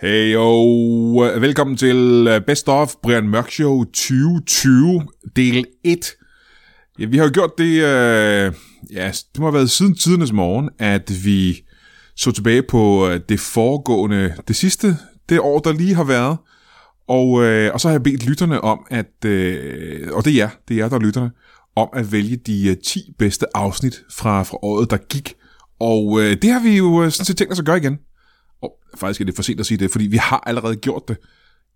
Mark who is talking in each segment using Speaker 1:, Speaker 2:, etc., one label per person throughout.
Speaker 1: Hey, og øh, velkommen til øh, Best of Brian Mørk Show 2020, del 1. Ja, vi har jo gjort det, øh, ja, det må have været siden tidernes morgen, at vi så tilbage på øh, det foregående, det sidste, det år, der lige har været. Og, øh, og så har jeg bedt lytterne om, at, øh, og det er jer, det er jer, der er lytterne, om at vælge de øh, 10 bedste afsnit fra, fra året, der gik. Og øh, det har vi jo øh, sådan set tænkt os at gøre igen. Og faktisk er det for sent at sige det, fordi vi har allerede gjort det.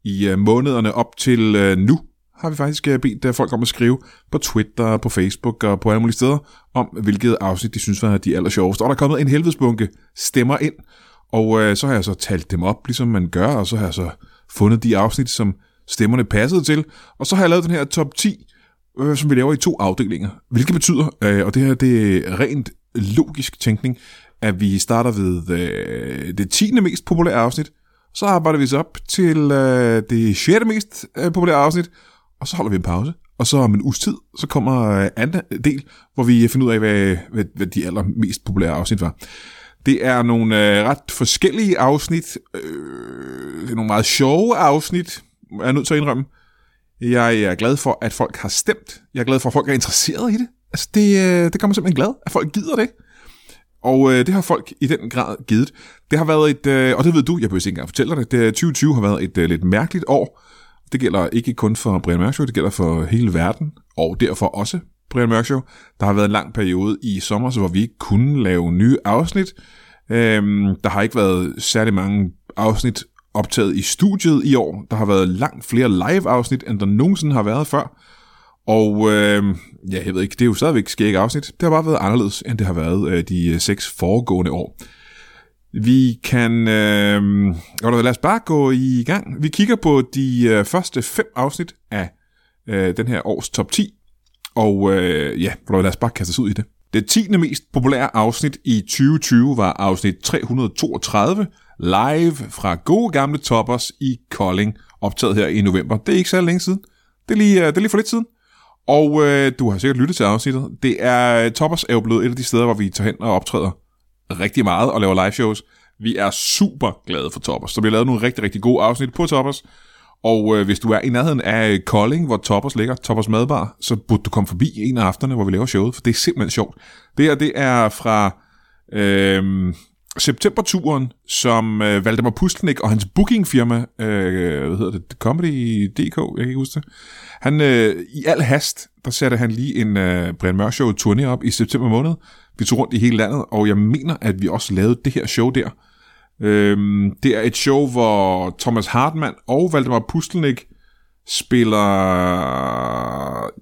Speaker 1: I øh, månederne op til øh, nu har vi faktisk øh, bedt øh, folk om at skrive på Twitter, på Facebook og på alle mulige steder, om hvilket afsnit de synes var de aller sjoveste. Og der er kommet en helvedesbunke stemmer ind, og øh, så har jeg så talt dem op, ligesom man gør, og så har jeg så fundet de afsnit, som stemmerne passede til. Og så har jeg lavet den her top 10, øh, som vi laver i to afdelinger. Hvilket betyder, øh, og det her det er rent logisk tænkning, at vi starter ved øh, det 10. mest populære afsnit, så arbejder vi så op til øh, det 6. mest øh, populære afsnit, og så holder vi en pause. Og så om en uges tid, så kommer øh, anden del, hvor vi finder ud af, hvad, hvad, hvad de allermest populære afsnit var. Det er nogle øh, ret forskellige afsnit. Øh, det er nogle meget sjove afsnit, er jeg nødt til at indrømme. Jeg er glad for, at folk har stemt. Jeg er glad for, at folk er interesseret i det. Altså, det, øh, det gør mig simpelthen glad, at folk gider det. Og øh, det har folk i den grad givet. Det har været et, øh, og det ved du, jeg behøver ikke engang fortælle dig det, det, er- 2020 har været et øh, lidt mærkeligt år. Det gælder ikke kun for Brian Mørk Show, det gælder for hele verden, og derfor også Brian Mørk Show. Der har været en lang periode i sommer, så hvor vi ikke kunne lave nye afsnit. Øhm, der har ikke været særlig mange afsnit optaget i studiet i år. Der har været langt flere live-afsnit, end der nogensinde har været før. Og øh, ja, jeg ved ikke, det er jo stadigvæk skægt afsnit. Det har bare været anderledes, end det har været øh, de øh, seks foregående år. Vi kan... Øh, jo, da, lad os bare gå i gang. Vi kigger på de øh, første fem afsnit af øh, den her års top 10. Og øh, ja, hvor da, lad os bare kaste os ud i det. Det 10. mest populære afsnit i 2020 var afsnit 332, live fra gode gamle toppers i Kolding, optaget her i november. Det er ikke så længe siden. Det er lige, øh, det er lige for lidt siden. Og øh, du har sikkert lyttet til afsnittet. Det er, øh, Toppers er jo blevet et af de steder, hvor vi tager hen og optræder rigtig meget og laver live shows. Vi er super glade for Toppers. Så vi har lavet nogle rigtig, rigtig gode afsnit på Toppers. Og øh, hvis du er i nærheden af Kolding, hvor Toppers ligger, Toppers Madbar, så burde du komme forbi en af aftenerne, hvor vi laver showet, for det er simpelthen sjovt. Det her, det er fra øh, septemberturen, som øh, Valdemar Puslenik og hans bookingfirma, øh, hvad hedder det, Comedy.dk, jeg kan ikke huske det, han, øh, i al hast, der satte han lige en øh, Brian Mørk Show turné op i september måned. Vi tog rundt i hele landet, og jeg mener, at vi også lavede det her show der. Øhm, det er et show, hvor Thomas Hartmann og Valdemar Pustelnik spiller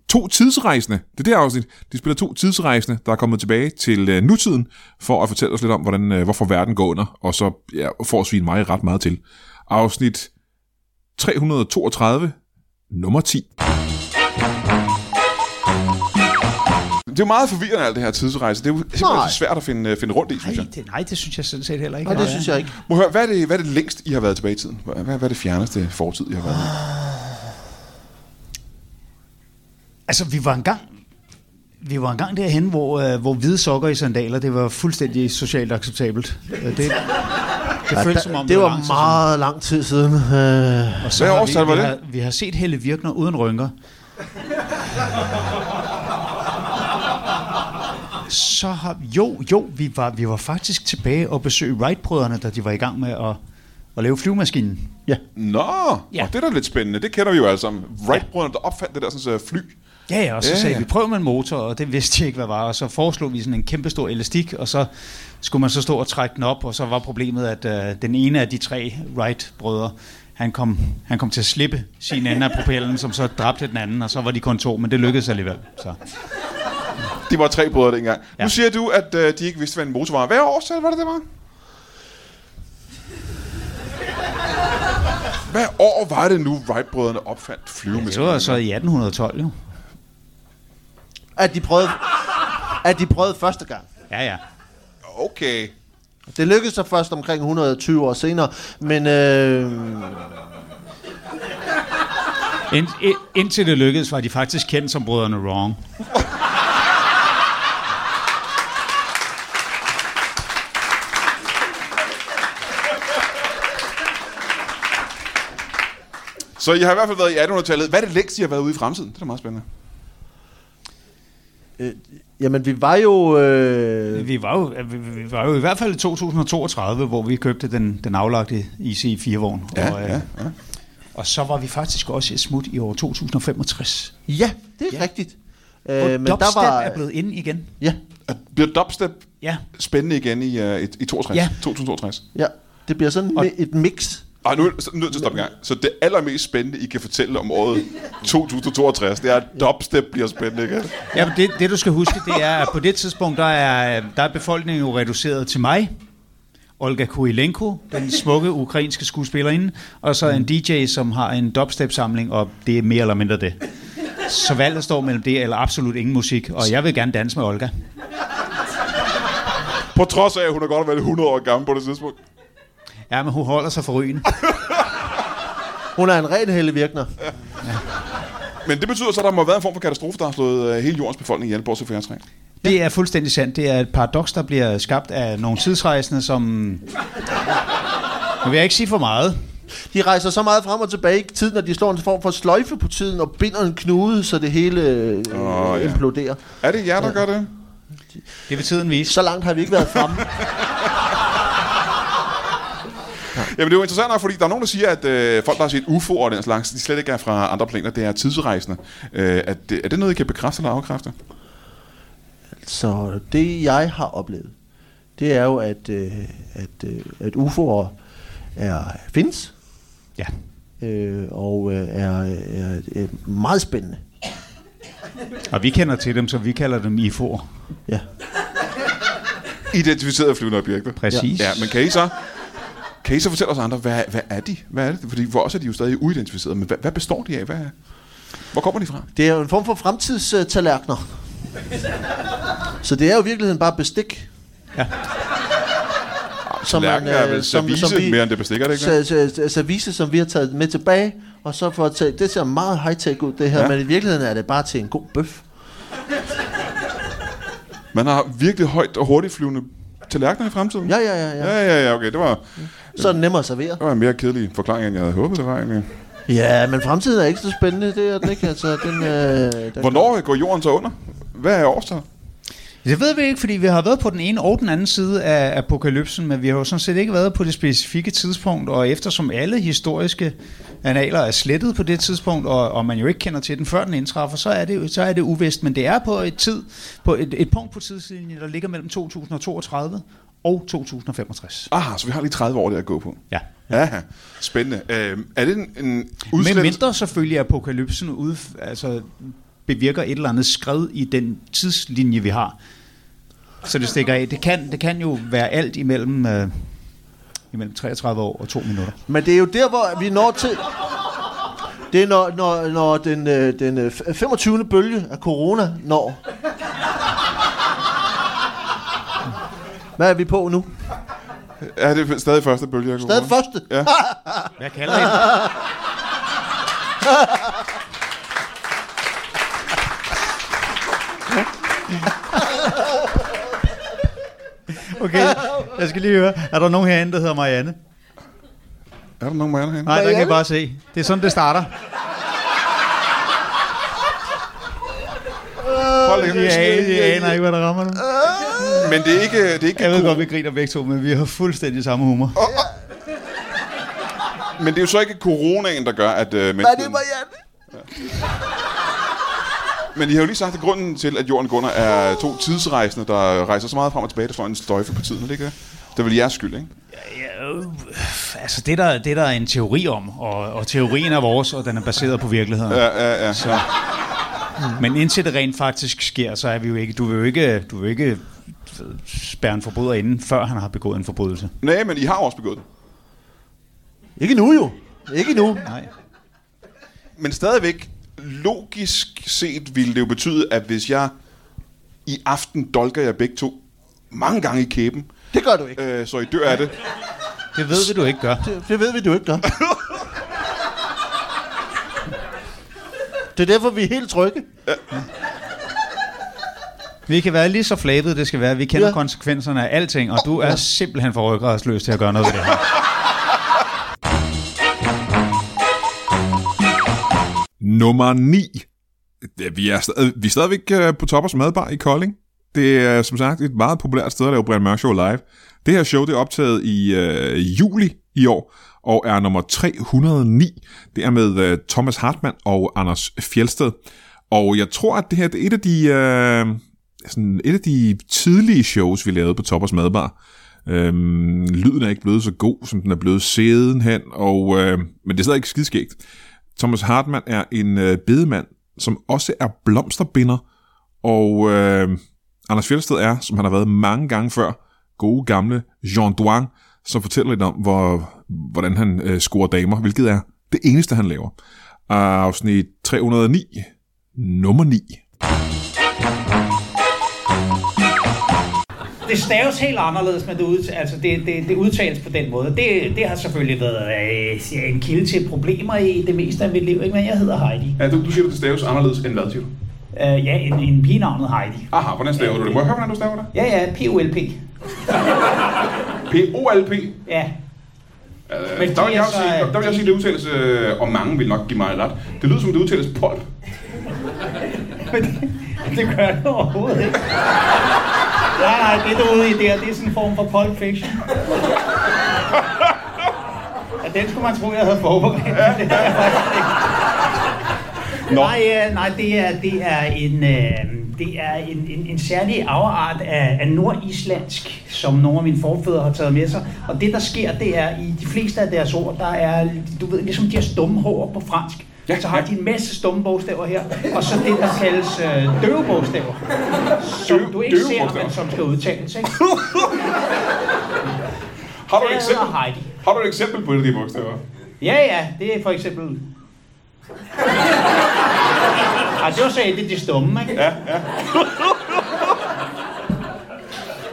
Speaker 1: to tidsrejsende. Det er det afsnit. De spiller to tidsrejsende, der er kommet tilbage til øh, nutiden, for at fortælle os lidt om, hvordan, øh, hvorfor verden går under, og så ja, får svin mig ret meget til. Afsnit 332, nummer 10. Det er jo meget forvirrende, alt det her tidsrejse. Det er jo simpelthen
Speaker 2: Nej.
Speaker 1: så svært at finde, øh, finde rundt i, synes jeg.
Speaker 3: Nej, det, nej, det synes jeg sådan set heller ikke.
Speaker 2: Altså. Nej, det
Speaker 3: Nej.
Speaker 2: synes jeg ikke.
Speaker 1: Må jeg høre, hvad er, det, hvad er det længst, I har været tilbage i tiden? Hvad, hvad hvad er det fjerneste fortid, I har været i?
Speaker 3: Altså, vi var engang, vi var engang derhen, hvor, øh, hvor hvide sokker i sandaler, det var fuldstændig socialt acceptabelt. Øh, Det, det ja, føltes som om,
Speaker 2: det var
Speaker 3: lang tid
Speaker 2: meget lang tid siden. Øh,
Speaker 3: siden. Og så
Speaker 1: Hvad
Speaker 3: har
Speaker 1: årstal
Speaker 3: vi,
Speaker 1: var
Speaker 3: vi
Speaker 1: det?
Speaker 3: Har, vi har set Helle Virkner uden rynker. Så har, jo, jo, vi var, vi var faktisk tilbage og besøge Wright-brødrene, da de var i gang med at, at lave flyvemaskinen.
Speaker 2: ja.
Speaker 1: Nå, ja.
Speaker 3: Ja.
Speaker 1: det er da lidt spændende. Det kender vi jo alle sammen. Wright-brødrene, der opfandt det der sådan, så øh, fly.
Speaker 3: Ja, ja, og så
Speaker 1: Ja,
Speaker 3: ja, sagde
Speaker 1: ja.
Speaker 3: ja. vi, prøv med en motor, og det vidste de ikke, hvad var. Og så foreslog vi sådan en kæmpe stor elastik, og så skulle man så stå og trække den op, og så var problemet, at øh, den ene af de tre Wright-brødre, han kom, han kom til at slippe sin ende af propellen, som så dræbte den anden, og så var de kun to, men det lykkedes alligevel. Så.
Speaker 1: De var tre brødre dengang. Ja.
Speaker 3: Ja.
Speaker 1: Nu siger du, at øh, de ikke vidste, hvad en motor var. Hvad årstal var det, det var? Hvad år var det nu, Wright-brødrene opfandt
Speaker 3: Det
Speaker 1: flyvemaskinen?
Speaker 3: var så i 1812, jo.
Speaker 2: At de prøvede, at de prøvede første gang.
Speaker 3: Ja, ja.
Speaker 1: Okay.
Speaker 2: Det lykkedes så først omkring 120 år senere, men øh,
Speaker 3: Ind, ind, indtil det lykkedes, var de faktisk kendt som brødrene Wrong.
Speaker 1: Så I har i hvert fald været i 1800-tallet. Hvad er det længst, I har været ude i fremtiden? Det er da meget spændende.
Speaker 2: Øh, jamen, vi var jo... Øh,
Speaker 3: Vi var, jo, vi- vi var jo i hvert fald i 2032, hvor vi købte den, den aflagte IC4-vogn.
Speaker 1: Ja,
Speaker 3: og, øh,
Speaker 1: ja, ja.
Speaker 3: og så var vi faktisk også et smut i år 2065,
Speaker 2: ja, det er ja. rigtigt. Øh,
Speaker 3: hvor
Speaker 2: men der
Speaker 3: dubstep
Speaker 2: var...
Speaker 3: er blevet inde igen.
Speaker 2: Ja,
Speaker 1: Og Bliver dubstep
Speaker 3: Ja,
Speaker 1: spændende igen i, uh, i, i 62, ja.
Speaker 3: Ja.
Speaker 1: 2062?
Speaker 2: ja. Det bliver sådan
Speaker 3: Og-
Speaker 2: og... et mix.
Speaker 1: Ej, nu er jeg nødt til at stoppe i gang. Så det allermest spændende, I kan fortælle om året 2062, det er, at dubstep bliver spændende igen.
Speaker 3: ja men det, det du skal huske, det er, at på det tidspunkt, der er, der er befolkningen jo reduceret til mig, Olga Kurilenko, den smukke ukrainske skuespillerinde, og så en DJ, som har en dubstep-samling, og det er mere eller mindre det. Så valget står mellem det eller absolut ingen musik, og jeg vil gerne danse med Olga.
Speaker 1: På trods af, at hun er godt og vel 100 år gammel på det tidspunkt.
Speaker 3: Ja, men hun holder sig for rygen.
Speaker 2: Hun er en ren helle virkner.
Speaker 1: Men det betyder så, at der må have været en form for katastrofe, der har slået øh, hele jordens befolkning ihjel, bortset fra jer tre.
Speaker 3: Det er fuldstændig sandt. Det er et paradoks, der bliver skabt af nogle tidsrejsende, som... Nu vil jeg ikke sige for meget.
Speaker 2: De rejser så meget frem og tilbage i tiden, at de slår en form for sløjfe på tiden og binder en knude, så det hele øh,
Speaker 1: Åh,
Speaker 2: oh,
Speaker 1: ja.
Speaker 2: imploderer.
Speaker 1: Er det jer, der gør det?
Speaker 3: Det vil tiden vise.
Speaker 2: Så langt har vi ikke været fremme.
Speaker 1: Jamen det er jo interessant nok, fordi der er nogen, der siger, at øh, folk, der har set UFO'er og den slags, de slet ikke er fra andre planer, det er tidsrejsende. Øh, er, det, er det noget, I kan bekræfte eller afkræfte?
Speaker 2: Så det, jeg har oplevet, det er jo, at, øh, at, øh, at UFO'er er, findes,
Speaker 3: Ja.
Speaker 2: øh, og øh, er, er, er meget spændende.
Speaker 3: Og vi kender til dem, så vi kalder dem IFO'er.
Speaker 2: Ja.
Speaker 1: Identificerede flyvende objekter.
Speaker 3: Præcis.
Speaker 1: Ja, men kan I så, kan I så fortælle os andre, hvad, hvad er de? Hvad er det? Fordi for os er de jo stadig uidentificerede, men hvad, hvad består de af? Hvad, hvor kommer de fra?
Speaker 2: Det er jo en form for fremtidstallerkener. Så det er jo i virkeligheden bare bestik.
Speaker 3: Ja.
Speaker 2: Som man,
Speaker 1: Tallerkener er
Speaker 2: øh,
Speaker 1: vel service mere end det bestik, er det ikke
Speaker 2: Så, så, så, service, som vi har taget med tilbage, og så for at tage, det ser meget high-tech ud det her,
Speaker 1: Ja.
Speaker 2: ja. men i virkeligheden er det bare til en god bøf.
Speaker 1: Man har virkelig højt og hurtigt flyvende tallerkener i fremtiden?
Speaker 2: Ja, ja, ja, ja.
Speaker 1: Ja, ja, ja, okay. Det var,
Speaker 2: Så er den nemmere at servere.
Speaker 1: det var en mere kedelig forklaring, end jeg havde håbet, det var egentlig.
Speaker 2: Ja, men fremtiden er ikke så spændende, det er den ikke. Altså, den, øh, den
Speaker 1: Hvornår går jorden så under? Hvad er årstallet?
Speaker 3: Det ved vi ikke, fordi vi har været på den ene og den anden side af apokalypsen, men vi har jo sådan set ikke været på det specifikke tidspunkt, og eftersom alle historiske analer er slettet på det tidspunkt, og, og man jo ikke kender til den, før den indtræffer, så er det, jo- så er det uvist, men det er på et, tid, på et, et punkt på tidslinjen, der ligger mellem 2032 og 2065.
Speaker 1: Ah, så vi har lige 30 år der at gå på.
Speaker 3: Ja.
Speaker 1: Ja, spændende. Øh, er det en, en
Speaker 3: Men
Speaker 1: udslættelse?
Speaker 3: mindre selvfølgelig apokalypsen ud, altså, bevirker et eller andet skred i den tidslinje, vi har. Så det stikker af. Det kan, det kan jo være alt imellem, øh, imellem 33 år og to minutter.
Speaker 2: Men det er jo der, hvor vi når til... Det er når, når, når den, øh, den øh, f- 25. bølge af corona når. Hvad er vi på nu?
Speaker 1: Er det stadig første bølge af corona?
Speaker 2: Stadig første.
Speaker 1: Ja.
Speaker 3: Hvad kalder I det? Okay, jeg skal lige høre. Er der nogen herinde, der hedder Marianne?
Speaker 1: Er der nogen Marianne herinde?
Speaker 3: Nej, der kan jeg
Speaker 2: Marianne?
Speaker 3: bare se. Det er sådan, det starter.
Speaker 1: Prøv lige-
Speaker 3: Jeg, jeg aner Øh, ikke, hvad der rammer nu.
Speaker 1: Men det er ikke... Det er ikke
Speaker 3: Jeg ved godt, vi griner begge to, men vi har fuldstændig samme humor.
Speaker 1: Men det er jo så ikke coronaen, der gør, at øh,
Speaker 2: Hvad er
Speaker 1: mennesket...
Speaker 2: det, Marianne?
Speaker 1: Men I har jo lige sagt, at grunden til, at jorden gunder, er to tidsrejsende, der rejser så meget frem og tilbage, der slår en støjfe på tiden, er det ikke det? Det er vel jeres skyld, ikke?
Speaker 3: Ja, øh, altså, det er der, det er der en teori om, og, og teorien er vores, og den er baseret på virkeligheden.
Speaker 1: Ja, ja, ja.
Speaker 3: Så. Men indtil det rent faktisk sker, så er vi jo ikke... Du vil jo ikke, du vil jo ikke øh, spærre en forbryder inden, før han har begået en forbrydelse.
Speaker 1: Nej, men I har også begået det.
Speaker 2: Ikke nu jo. Ikke nu.
Speaker 3: Nej.
Speaker 1: Men stadigvæk, logisk set ville det jo betyde, at hvis jeg i aften dolker jer begge to mange gange i kæben,
Speaker 2: Det gør du ikke.
Speaker 1: øh, så I dør af det,
Speaker 3: Det ved vi, du ikke gør.
Speaker 2: Det, det ved vi, du ikke gør. Det er derfor, vi er helt trygge.
Speaker 3: Vi kan være lige så flabede, det skal være. Vi kender ja.
Speaker 2: Ja.
Speaker 3: konsekvenserne af alting, og du er simpelthen for rygradsløs til at gøre noget ved det her.
Speaker 1: Nummer 9. Ja, Vi er, stadig, vi er stadigvæk øh, på Toppers Madbar i Kolding. Det er som sagt et meget populært sted at lave Brian Mørk Show live. Det her show det er optaget i øh, juli i år og er nummer 309. Det er med øh, Thomas Hartmann og Anders Fjelsted. Og jeg tror, at det her det er et af de, øh, sådan et af de tidlige shows, vi lavede på Toppers Madbar. Øhm, lyden er ikke blevet så god, som den er blevet sidenhen, og, øh, men det er stadig ikke skidskægt. Thomas Hartmann er en øh, bedemand, som også er blomsterbinder, og øh, Anders Fjeldsted er, som han har været mange gange før, gode gamle Jean Duang, som fortæller lidt om, hvor, hvordan han øh, scorer damer, hvilket er det eneste, han laver. Afsnit 309, nummer 9.
Speaker 3: Det staves helt anderledes, men det, ud, altså det, det, det udtales på den måde. Det, det har selvfølgelig været øh, ja, en kilde til problemer i det meste af mit liv, ikke? men jeg hedder Heidi.
Speaker 4: Ja, du, du siger, at det staves anderledes end hvad, siger du?
Speaker 3: Øh, ja, en, en pige navnet Heidi.
Speaker 4: Aha, hvordan staver du det? Må jeg høre, hvordan du staver det?
Speaker 3: Ja, ja, POLP.
Speaker 4: P-O-L-P.
Speaker 3: Ja,
Speaker 4: Øh,
Speaker 3: Men
Speaker 4: der, vil
Speaker 3: det
Speaker 4: jeg
Speaker 3: er
Speaker 4: også
Speaker 3: så-
Speaker 4: sige, der vil jeg sige, at det udtales, øh, og mange vil nok give mig ret. Det lyder som, det udtales polp.
Speaker 3: men det, det gør det overhovedet ikke. Nej, nej, det du er ude i der, det er sådan en form for Pulp Fiction. Ja, den skulle man tro, jeg havde forberedt. Det har jeg faktisk ikke.
Speaker 4: Nå.
Speaker 3: Nej, øh, nej, det er, det er en... Øh, det er en, en, en særlig afart af, af nordislandsk, som nogle af mine forfædre har taget med sig. Og det, der sker, det er, i de fleste af deres ord, der er, du ved, ligesom de har stumme hår på fransk. Ja, så har de en masse stumme bogstaver her, og så det, der kaldes øh, døve bogstaver, som
Speaker 4: Døve-
Speaker 3: du ikke
Speaker 4: døve
Speaker 3: ser,
Speaker 4: bogstaver.
Speaker 3: men som skal udtales. Ikke?
Speaker 4: Har du et
Speaker 3: Jeg
Speaker 4: eksempel?
Speaker 3: hedder Heidi.
Speaker 4: Har du et eksempel på det, de bogstaver?
Speaker 3: Ja, ja, det er for eksempel... Ej, Altså, det var så det de stumme, ikke?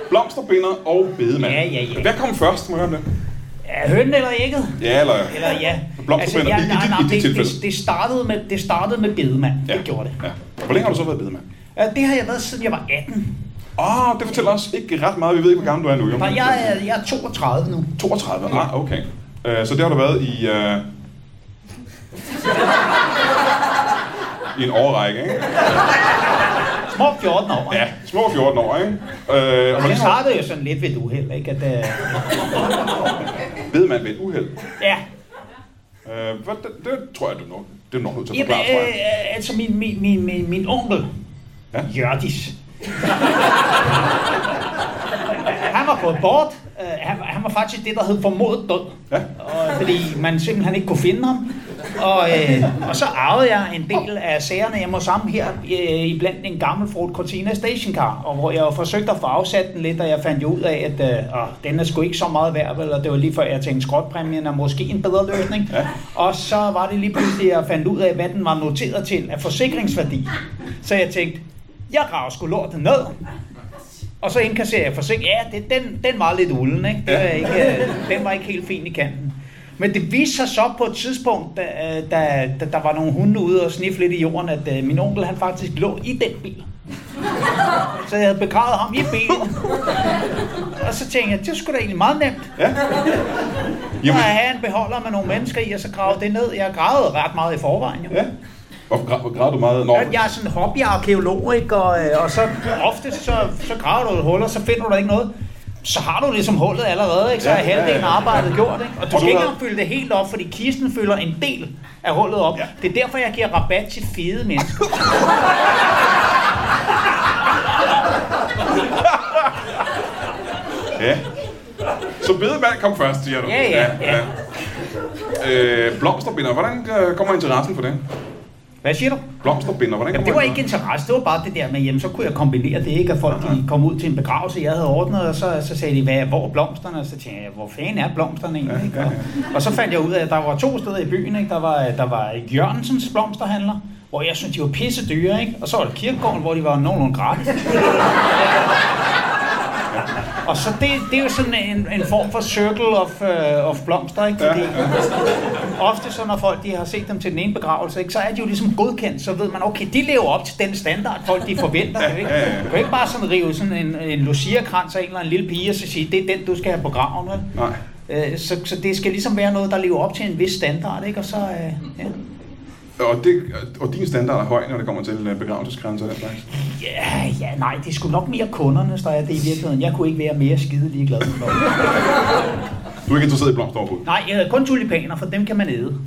Speaker 4: Blomsterbinder og bedemand.
Speaker 3: Ja, ja, ja.
Speaker 4: Hvad kom først, må jeg høre om det?
Speaker 3: Er høn eller ægget?
Speaker 4: Ja, eller...
Speaker 3: Eller ja.
Speaker 4: Blomsterbænder, i- i dit- i dit
Speaker 3: det,
Speaker 4: tilfælde.
Speaker 3: det, det, startede med, det startede med bedemand. Ja. Det gjorde det.
Speaker 4: Ja. Hvor længe har du så været bedemand?
Speaker 3: Ja. Det har jeg været, siden jeg var 18.
Speaker 4: Åh, oh, det fortæller os ikke ret meget. Vi ved ikke, hvor gammel du er nu, jo.
Speaker 3: Nej, jeg, er- jeg er 32 nu.
Speaker 4: 32. Ah, okay. Øh, så det har du været i... Øh... I en årrække, ikke?
Speaker 3: Små 14 år.
Speaker 4: Ja, små 14 år, ikke? Øh, og hvor
Speaker 3: Jeg
Speaker 4: længe har
Speaker 3: startede jo sådan lidt ved et uheld, ikke? At, øh,
Speaker 4: du bedemand ved et uheld?
Speaker 3: ja,
Speaker 4: Øh, hvad, det, det, tror jeg, du nok. Det er nok nødt til at
Speaker 3: Jamen,
Speaker 4: forklare, tror
Speaker 3: øh,
Speaker 4: jeg.
Speaker 3: øh, altså min, min, min, min, min onkel,
Speaker 4: Ja.
Speaker 3: ja? Jørdis, han var gået bort. Øh, han, han var faktisk det, der hed formodet død.
Speaker 4: Ja.
Speaker 3: Og, øh, fordi man simpelthen ikke kunne finde ham. Og, øh, og så arvede jeg en del af sagerne hjemme sammen her, øh, i blandt en gammel Ford Cortina stationcar, og hvor jeg jo forsøgte at få afsat den lidt, og jeg fandt jo ud af, at øh, åh, den er sgu ikke så meget værd, vel, og det var lige før jeg tænkte, skrotpræmien er måske en bedre løsning. Ja. Og så var det lige pludselig, at jeg fandt ud af, hvad den var noteret til af forsikringsværdi. Så jeg tænkte, jeg graver sgu lortet ned, og så indkasserer jeg forsøg. Ja, det, den, den var lidt ulden, ikke? Det var ikke øh, den var ikke helt fin i kanten. Men det viste sig så på et tidspunkt, da, øh, da, da der var nogle hunde ude og sniffe lidt i jorden, at øh, min onkel han faktisk lå i den bil. Så jeg havde begravet ham i bilen. Og så tænkte jeg, det skulle da egentlig meget nemt. Ja. Jamen. At have en beholder med nogle mennesker i, og så grave det ned. Jeg gravede ret meget i forvejen. Jo.
Speaker 4: Ja. Hvor, gra- hvor græd du meget? Nå,
Speaker 3: Jeg er sådan en hobbyarkeolog, ikke? Og, øh, og så ofte så, så graver du et hul, og så finder du der ikke noget. Så har du ligesom hullet allerede, ikke? Så er
Speaker 4: Ja, ja, ja.
Speaker 3: halvdelen af arbejdet gjort, ikke? Og du
Speaker 4: Og du
Speaker 3: skal ikke
Speaker 4: har-
Speaker 3: engang fylde det helt op, fordi kisten fylder en del af hullet op.
Speaker 4: Ja.
Speaker 3: Det er derfor, jeg giver rabat til fede mennesker.
Speaker 4: ja. Så bedemand kom først, siger du?
Speaker 3: Ja, ja, ja.
Speaker 4: Øh, blomsterbinder, hvordan øh, kommer interessen for det?
Speaker 3: Hvad siger du?
Speaker 4: Blomsterbinder, hvordan
Speaker 3: Jamen,
Speaker 4: kommer
Speaker 3: det var ikke interesse, det var bare det der med, jamen, så kunne jeg kombinere det, ikke? At folk de kom ud til en begravelse, jeg havde ordnet, og så, så sagde de, hvad, hvor er blomsterne? Og så tænkte jeg, hvor fanden er blomsterne egentlig? Ikke? Og, og, så fandt jeg ud af, at der var to steder i byen, ikke? Der var, der var Jørgensens blomsterhandler, hvor jeg synes, de var pisse dyre, ikke? Og så var der kirkegården, hvor de var nogenlunde gratis. Og så det, det er jo sådan en, en form for circle of, uh, of blomster, ikke? Fordi ofte så når folk de har set dem til den ene begravelse, ikke, så er de jo ligesom godkendt, så ved man, okay, de lever op til den standard, folk de forventer. jo, Ikke? Du kan ikke bare sådan rive sådan en, en lucia-krans af en eller en lille pige og så sige, det er den, du skal have på graven, vel?
Speaker 4: Nej.
Speaker 3: Øh, så, så det skal ligesom være noget, der lever op til en vis standard, ikke? Og så, øh, ja.
Speaker 1: Og, det, og din standard er høj, når det kommer til øh, begravelsesgrænser og den slags.
Speaker 5: Ja, ja, nej, det skulle nok mere kundernes, der er det i virkeligheden. Jeg kunne ikke være mere skide ligeglad. med noget.
Speaker 1: Du er ikke interesseret i blomster overhovedet.
Speaker 5: Nej, øh, kun tulipaner, for dem kan man æde.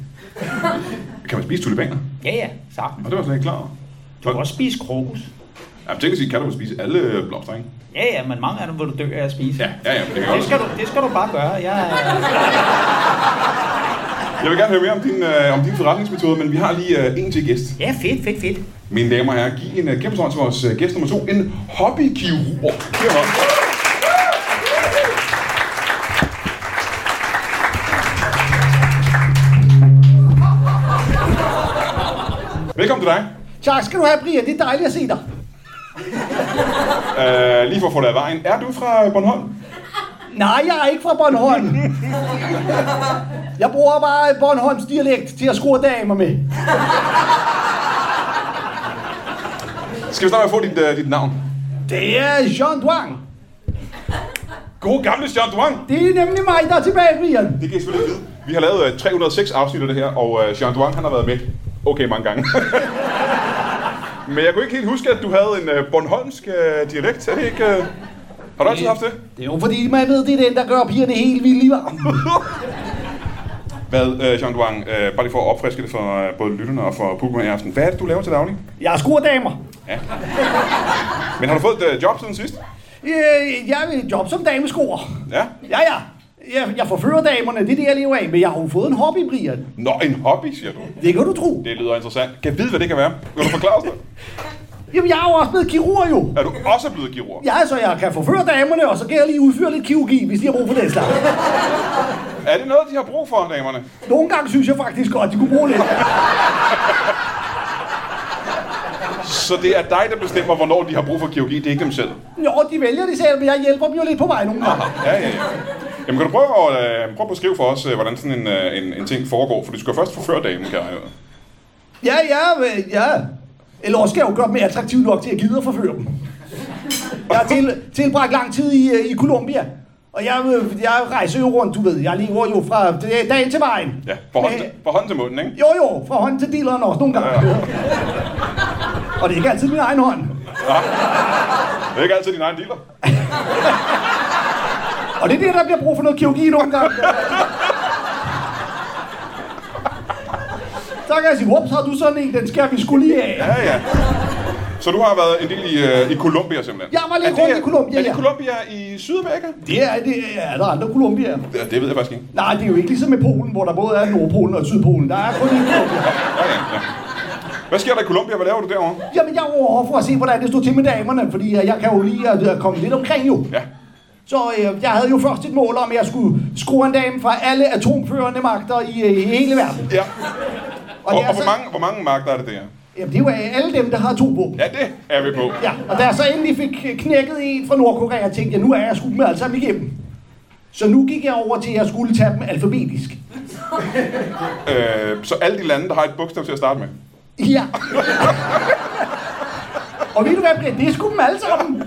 Speaker 1: Kan man spise tulipaner?
Speaker 5: Ja, ja,
Speaker 1: Og
Speaker 5: sagtens.
Speaker 1: det var jeg slet ikke klar over.
Speaker 5: Du kan også spise krokus.
Speaker 1: Jamen, teknisk set kan du vel spise alle øh, blomster, ikke?
Speaker 5: Ja, ja, men mange af dem vil du dø af at spise.
Speaker 1: Ja, ja, ja. men Det kan jeg
Speaker 5: Det skal
Speaker 1: også.
Speaker 5: du, det skal du bare gøre. Jeg,
Speaker 1: Jeg vil gerne høre mere om din, øh, om din forretningsmetode, men vi har lige øh, en til gæst.
Speaker 5: ja, fedt, fedt, fedt.
Speaker 1: Mine damer og herrer, giv en uh, kæmpe hånd til vores uh, gæst nummer to, en hobbykirurg. Giv ham hånd. Velkommen til dig.
Speaker 5: Tak skal du have, Brian. Det er dejligt at se dig.
Speaker 1: Uh, lige for at få dig af vejen. Er du fra Bornholm?
Speaker 5: Nej, jeg er ikke fra Bornholm. Jeg bruger bare Bornholms dialekt til at skrue damer med.
Speaker 1: Skal vi starte med at få dit, uh, dit navn?
Speaker 5: Det er Jean Duang.
Speaker 1: God gamle Jean Duang.
Speaker 5: Det er nemlig mig, der er tilbage, Brian.
Speaker 1: Det kan I selvfølgelig vide. Vi har lavet uh, 306 afsnit af det her, og uh, Jean Duang han har været med okay mange gange. Men jeg kunne ikke helt huske, at du havde en uh, bornholmsk uh, dialekt. Er det ikke... Uh... Har du altid haft det?
Speaker 5: Det er jo fordi, man ved, det er den, der gør pigerne helt vildt i varmen.
Speaker 1: Hvad, uh, Jean Duang, uh, bare lige for at opfriske det for uh, både lytterne og for publikum her i aften. Hvad er det, du laver til daglig?
Speaker 5: Jeg er skruerdamer.
Speaker 1: Men har du fået et uh, job siden sidst?
Speaker 5: Øh, Jeg vil job som dameskruer.
Speaker 1: Ja.
Speaker 5: Ja, ja. Jeg, jeg forfører damerne, det er det, jeg lever af. Men jeg har jo fået en hobby, Brian.
Speaker 1: Nå, en hobby, siger du.
Speaker 5: Det kan du tro.
Speaker 1: Det lyder interessant. Kan jeg vide, hvad det kan være? Kan du forklare os det?
Speaker 5: Jamen, jeg er jo også blevet kirurg jo.
Speaker 1: Er du også blevet kirurg?
Speaker 5: Ja, så jeg kan forføre damerne, og så kan jeg lige udføre lidt kirurgi, hvis de har brug for den slags.
Speaker 1: Er det noget, de har brug for, damerne?
Speaker 5: Nogle gange synes jeg faktisk godt, de kunne bruge lidt.
Speaker 1: Så det er dig, der bestemmer, hvornår de har brug for kirurgi. Det er ikke dem selv.
Speaker 5: Jo, de vælger det selv, men jeg hjælper dem jo lidt på vej nogle gange.
Speaker 1: Ja, ja, ja. Jamen, kan du prøve at, øh, prøve at beskrive for os, øh, hvordan sådan en, øh, en, en ting foregår? For du skal jo først forføre damen, kan jeg høre.
Speaker 5: Ja, ja, øh, ja. Eller også skal jeg jo gøre dem attraktive nok til at gide at forføre dem. Jeg har til, tilbragt lang tid i, øh, i Colombia. Og jeg, øh, jeg rejser jo rundt, du ved. Jeg lever jo fra dag dag til vejen.
Speaker 1: Ja, fra hånden
Speaker 5: Men-
Speaker 1: til, fra hånden til munden, ikke?
Speaker 5: Jo, jo, fra hånd til dealeren også nogle gange. Ja. Og det er ikke altid min egen hånd.
Speaker 1: Det er ikke altid din egen dealer.
Speaker 5: Og det er det, der bliver brug for noget kirurgi nogle gange. Så kan jeg sige, ups, har du sådan en, den skal vi skulle lige af.
Speaker 1: Ja, ja. Så du har været en del i, øh, i Colombia, simpelthen?
Speaker 5: Jeg var lidt
Speaker 1: Er det-
Speaker 5: rundt i Colombia,
Speaker 1: Er det
Speaker 5: ja.
Speaker 1: Colombia i Sydamerika?
Speaker 5: Det er, det er der er andre Colombier.
Speaker 1: Ja, det ved jeg faktisk ikke.
Speaker 5: Nej, det er jo ikke ligesom med Polen, hvor der både er Nordpolen og Sydpolen. Der er kun en Colombia.
Speaker 1: Ja, ja, ja. Hvad sker der i Colombia? Hvad laver du derovre?
Speaker 5: Jamen, jeg var over for at se, hvordan det stod til med damerne, fordi øh, jeg kan jo lige at, at komme lidt omkring jo.
Speaker 1: Ja.
Speaker 5: Så øh, jeg havde jo først et mål om, at jeg skulle skrue en dame fra alle atomførende magter i, øh, i hele verden.
Speaker 1: ja. Og,
Speaker 5: det er
Speaker 1: og hvor,
Speaker 5: så-
Speaker 1: mange, hvor mange magter er det der?
Speaker 5: Jamen, det er jo alle dem, der har to på.
Speaker 1: Ja, det er vi på.
Speaker 5: Ja, og da jeg så endelig fik knækket en fra Nordkorea, tænkte jeg, nu er jeg sgu med alle sammen igennem. Så nu gik jeg over til, at jeg skulle tage dem alfabetisk.
Speaker 1: Øh, så alle de lande, der har et bogstav til at starte med.
Speaker 5: Ja. og ved du hvad, Brian? Det er sgu dem alle sammen.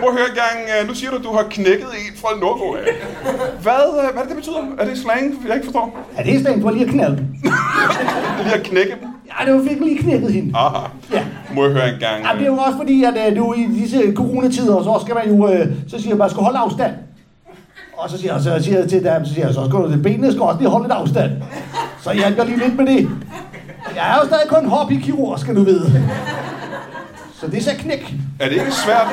Speaker 1: Prøv at høre gang. øh, Nu siger du, at du har knækket en fra Nordkorea. Hvad, øh, hvad er det, det betyder? Er det slang, jeg ikke forstår?
Speaker 5: Ja, det er stand for lige at knalde dem.
Speaker 1: Lige at knække dem?
Speaker 5: Ja, det var fik lige knækket hende.
Speaker 1: Aha.
Speaker 5: Ja.
Speaker 1: Må jeg høre en gang?
Speaker 5: Ja, det er jo også fordi, at øh, det er jo i disse coronatider, så skal man jo, øh, så siger jeg, man skal holde afstand. Og så siger jeg, så siger jeg til dem, så siger jeg, så skal du til benene, skal også lige holde lidt afstand. Så jeg hjælper lige lidt med det. Jeg er jo stadig kun hobbykirurg, skal du vide. Så det er så knæk.
Speaker 1: øh, Er det ikke svært?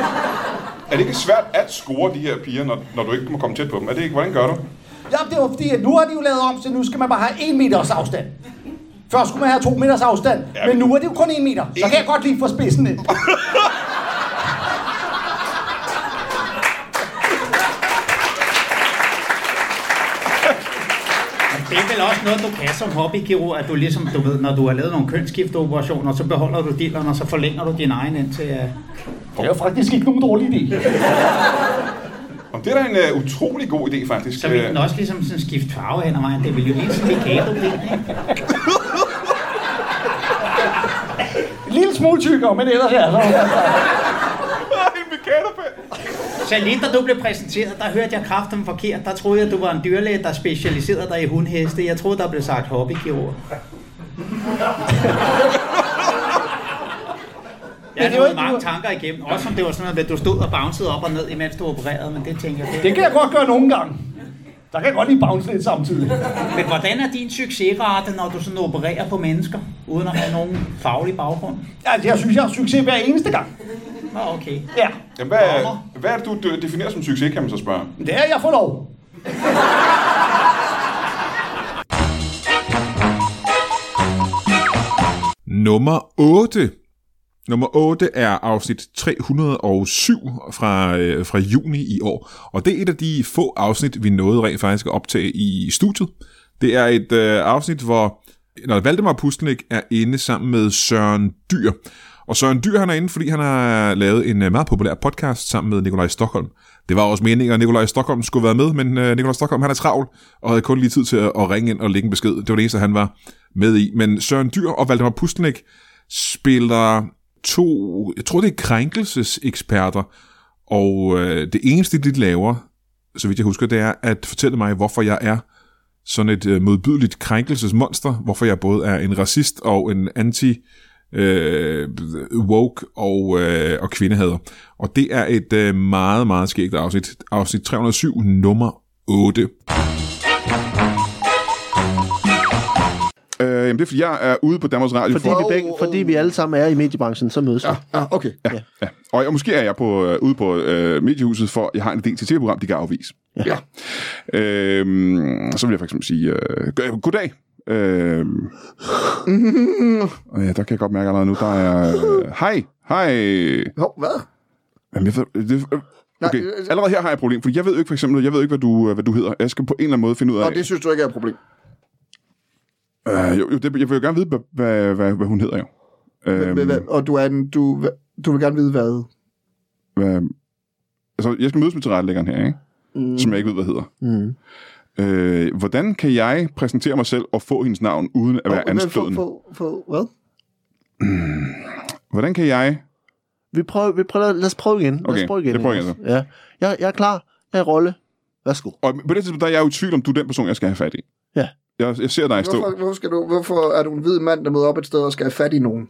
Speaker 1: Er det ikke svært at score de her piger, når, når du ikke må komme tæt på dem? Er det ikke, hvordan gør du?
Speaker 5: Ja, det var fordi, at nu har de jo lavet om, så nu skal man bare have en meters afstand. Først skulle man have to meters afstand,
Speaker 1: Ja.
Speaker 5: men nu er det jo kun en meter. Så kan jeg godt lige få spidsen ind.
Speaker 6: Det er vel også noget, du kan som hobbykirurg, at du ligesom, du ved, når du har lavet nogle kønsskifteoperationer, så beholder du dilleren, og så forlænger du din egen indtil... Uh...
Speaker 5: Det er jo faktisk ikke nogen dårlig idé.
Speaker 1: Om det er da en uh, utrolig god idé, faktisk.
Speaker 6: Så vil
Speaker 1: Øh,
Speaker 6: den også ligesom sådan skifte farve hen ad vejen. Det vil jo lige sådan Mikado det, ikke?
Speaker 5: En lille smule tykkere, men ellers ja. Så...
Speaker 1: en mekanopind.
Speaker 6: Så lige da du blev præsenteret, der hørte jeg kraften forkert. Der troede jeg, du var en dyrlæge, der specialiserede dig i hundheste. Jeg troede, der blev sagt hobbykirurg. Jeg
Speaker 2: det var
Speaker 6: havde
Speaker 2: ikke-
Speaker 6: mange tanker igennem. Også om det var sådan noget, med, at du stod og bouncede op og ned, imens du opererede, men det tænker jeg.
Speaker 5: Det kan jeg godt gøre nogle gange. Der kan jeg godt lige bounce lidt samtidig.
Speaker 6: Men hvordan er din succesrate, når du sådan opererer på mennesker, uden at have nogen faglig baggrund?
Speaker 5: Altså, jeg synes, jeg har succes hver eneste gang.
Speaker 6: Nå, okay.
Speaker 5: Ja,
Speaker 1: Jamen, hvad,
Speaker 5: Dommer.
Speaker 1: hvad er det, du d- definerer som succes, kan man så spørge?
Speaker 5: men det er, jeg får lov.
Speaker 7: Nummer 8. Nummer 8 er afsnit 307 fra, øh, fra juni i år, og det er et af de få afsnit, vi nåede rent faktisk at optage i studiet. Det er et øh, afsnit, hvor når Valdemar Pustelnik er inde sammen med Søren Dyr. Og Søren Dyr han er inde, fordi han har lavet en øh, meget populær podcast sammen med Nikolaj Stockholm. Det var også meningen, at Nikolaj Stockholm skulle være med, men øh, Nikolaj Stockholm han er travl og havde kun lige tid til at, at ringe ind og lægge en besked. Det var det eneste, han var med i. Men Søren Dyr og Valdemar Pustelnik spiller to, jeg tror det er krænkelseseksperter, og øh, det eneste, de laver, så vidt jeg husker, det er at fortælle mig, hvorfor jeg er sådan et øh, modbydeligt krænkelsesmonster, hvorfor jeg både er en racist og en anti øh, woke og, øh, og kvindehader. Og det er et øh, meget, meget skægt afsnit. Afsnit 307, nummer 8.
Speaker 1: Øh, jamen, det er, fordi jeg er ude på Danmarks Radio.
Speaker 2: Fordi, vi begge, fordi vi alle sammen er i mediebranchen, så mødes vi. Ja.
Speaker 1: Ah, okay. Ja, ja. ja. Og, og måske er jeg på, øh, ude på øh, mediehuset, for jeg har en idé til et tv-program, de kan afvise. Ja. ja. Øhm, så vil jeg for eksempel sige, øh, go- goddag. Øhm, mm, ja, der kan jeg godt mærke allerede nu, der er... øh, Hej, hej.
Speaker 8: Hov, hvad?
Speaker 1: Jamen, jeg ved, det, øh, okay.
Speaker 8: Nej, øh,
Speaker 1: Allerede her har jeg et problem, fordi jeg ved jo ikke for eksempel, jeg ved ikke, hvad du, øh, hvad du hedder. Jeg skal på en eller anden måde finde ud af...
Speaker 8: Og det synes du ikke er et problem.
Speaker 1: Øh, jo, jo, det, jeg vil jo gerne vide, hvad, hvad, hvad, hvad hun hedder jo. Øhm,
Speaker 8: Øhm. Og du, er en, du, du vil gerne vide, hvad...
Speaker 1: hvad, altså, jeg skal mødes med tilrettelæggeren her, ikke? Mm. som jeg ikke ved, hvad hedder. Mm. Øh, hvordan kan jeg præsentere mig selv og få hendes navn, uden at være
Speaker 8: Hvad-
Speaker 1: anstødende?
Speaker 8: For, for, for, hvad?
Speaker 1: Hvordan kan jeg...
Speaker 2: Vi prøver, vi prøver, lad os prøve igen. Lad
Speaker 1: Okay,
Speaker 2: os prøve igen.
Speaker 1: det prøver jeg
Speaker 2: Jonas. Ja. Jeg, jeg er klar. Jeg er i rolle. Værsgo.
Speaker 1: Og på det tidspunkt, der er jeg jo i tvivl om, du er den person, jeg skal have fat i.
Speaker 2: Ja.
Speaker 1: Jeg, jeg ser dig stå.
Speaker 8: Hvorfor, hvorfor, skal du, hvorfor er du en hvid mand, der møder op et sted og skal have fat i nogen?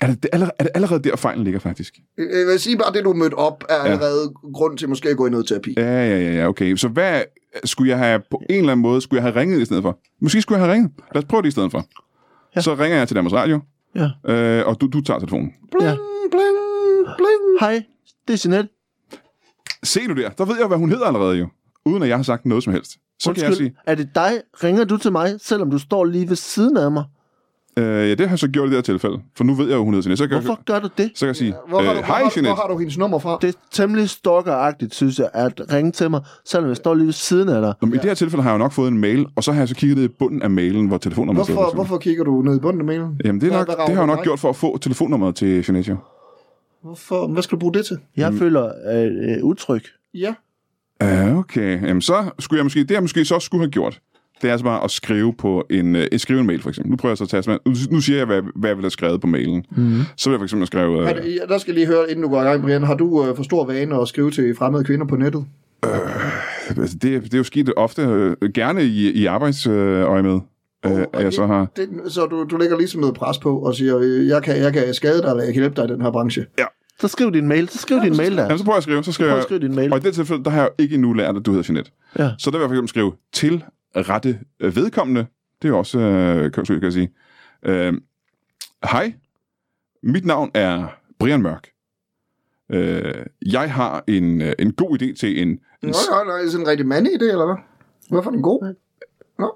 Speaker 1: Er det, det er allerede, er det allerede der, fejlen ligger, faktisk?
Speaker 8: Jeg Øh, jeg vil sige bare, at det, du mødte op, er allerede grund til måske at gå i noget terapi. Ja.
Speaker 1: Ja, ja, ja, ja, okay. Så hvad skulle jeg have på en eller anden måde, skulle jeg have ringet i stedet for? Måske skulle jeg have ringet. Lad os prøve det i stedet for. Ja. Så ringer jeg til Danmarks Radio,
Speaker 2: Ja.
Speaker 1: øh, og du, du tager telefonen.
Speaker 2: ja.
Speaker 8: Bling, bling.
Speaker 2: Hej, det er Jeanette.
Speaker 1: Se nu der, der ved jeg, hvad hun hedder allerede jo. Uden at jeg har sagt noget som helst. Så kan jeg sige,
Speaker 2: er det dig? Ringer du til mig, selvom du står lige ved siden af mig?
Speaker 1: øh, ja, det har jeg så gjort i det her tilfælde. For nu ved jeg, hvad hun hedder Jeanette. Så kan,
Speaker 2: Hvorfor
Speaker 1: Jeg,
Speaker 2: gør du det?
Speaker 1: så kan jeg sige,
Speaker 8: Hvor, har du,
Speaker 1: øh, hej
Speaker 8: hvor, hvor
Speaker 1: Jeanette.
Speaker 8: har du hendes nummer fra?
Speaker 2: Det er temmelig stalkeragtigt, synes jeg, at ringe til mig, selvom jeg står lige ved siden af dig.
Speaker 1: Nå, men I det her tilfælde har jeg jo nok fået en mail, og så har jeg så kigget ned i bunden af mailen, hvor telefonnummeret sidder, for
Speaker 8: Hvorfor,
Speaker 1: eksempel.
Speaker 8: hvorfor kigger du ned i bunden af mailen?
Speaker 1: Jamen, det, er
Speaker 8: Hvad-
Speaker 1: nok,
Speaker 8: hvad
Speaker 1: det
Speaker 8: rager
Speaker 1: har jeg
Speaker 8: du
Speaker 1: nok
Speaker 8: dig?
Speaker 1: gjort for at få telefonnummeret til Jeanette. jo.
Speaker 8: Hvorfor? Hvad skal du bruge det til?
Speaker 2: Jeg føler øh, øh, utryg.
Speaker 8: Ja.
Speaker 1: Ja, okay. Jamen, så skulle jeg måske, det jeg måske så skulle have gjort, det er altså bare at skrive på en, øh, skrive en mail, for eksempel. Nu prøver jeg så at tage, nu, nu siger jeg, hvad, hvad jeg ville have skrevet på mailen.
Speaker 8: Mhm.
Speaker 1: Mm. Så vil jeg for eksempel skrive,
Speaker 8: Er
Speaker 1: øh,
Speaker 8: det, ja, der skal jeg lige høre, inden du går i gang, Brian. Har du øh, for stor vane at skrive til fremmede kvinder på nettet?
Speaker 1: altså, det, det er jo sket ofte, øh, gerne i, i arbejdsøje med, øh, at jeg så har...
Speaker 8: Det, så du, du lægger ligesom noget pres på og siger, øh, jeg kan, jeg kan skade dig, eller jeg kan hjælpe dig i den her branche.
Speaker 2: Så skriv din mail. Så skriv din mail der.
Speaker 1: Jamen, så prøver jeg at skrive. Så skriver
Speaker 2: Prøv
Speaker 1: jeg,
Speaker 2: at skrive din mail.
Speaker 1: Og i det tilfælde, der har jeg jo ikke endnu lært, at du hedder Jeanette.
Speaker 2: Ja.
Speaker 1: Så der vil jeg for eksempel skrive til rette øh, vedkommende. Det er jo også, øh, kan kan jeg sige. Øh, Hej, mit navn er Brian Mørk. Øh, jeg har en, øh, en god idé til en... en
Speaker 8: Nå, nej, nej, er det sådan en rigtig mandidé, eller hvad? Hvorfor er den god?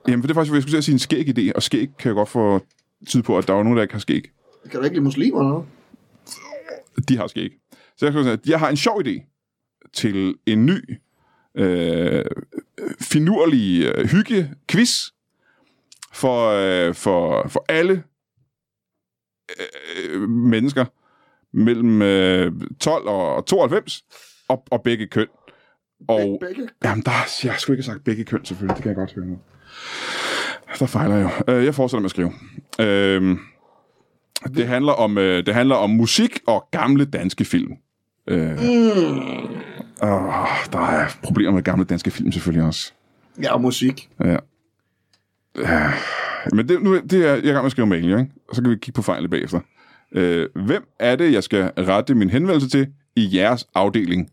Speaker 1: jamen, for det er faktisk, hvad jeg skulle til at sige en skæg idé, og skæg kan jeg godt få tid på, at der er jo nogen, der ikke har skæg.
Speaker 8: Kan du ikke lide muslimer eller noget?
Speaker 1: De har skæg. Så jeg skulle sige, at jeg har en sjov idé til en ny, øh, finurlig øh, hygge-quiz for, øh, for, for alle øh, mennesker mellem øh, 12 og 92 og, og begge køn. Og,
Speaker 8: Begge?
Speaker 1: Jamen, der, jeg har sgu ikke sagt begge køn, selvfølgelig. Det kan jeg godt høre nu. Der fejler jeg jo. Øh, Jeg fortsætter med at skrive. Øhm, det, handler om, øh, det handler om musik og gamle danske film. Øh, mm. åh, der er problemer med gamle danske film selvfølgelig også.
Speaker 8: Ja, og musik.
Speaker 1: Ja. Men det, nu, det er, jeg er i gang med at skrive mail, ikke? Og så kan vi kigge på fejlene bagefter. Øh, hvem er det, jeg skal rette min henvendelse til i jeres afdeling?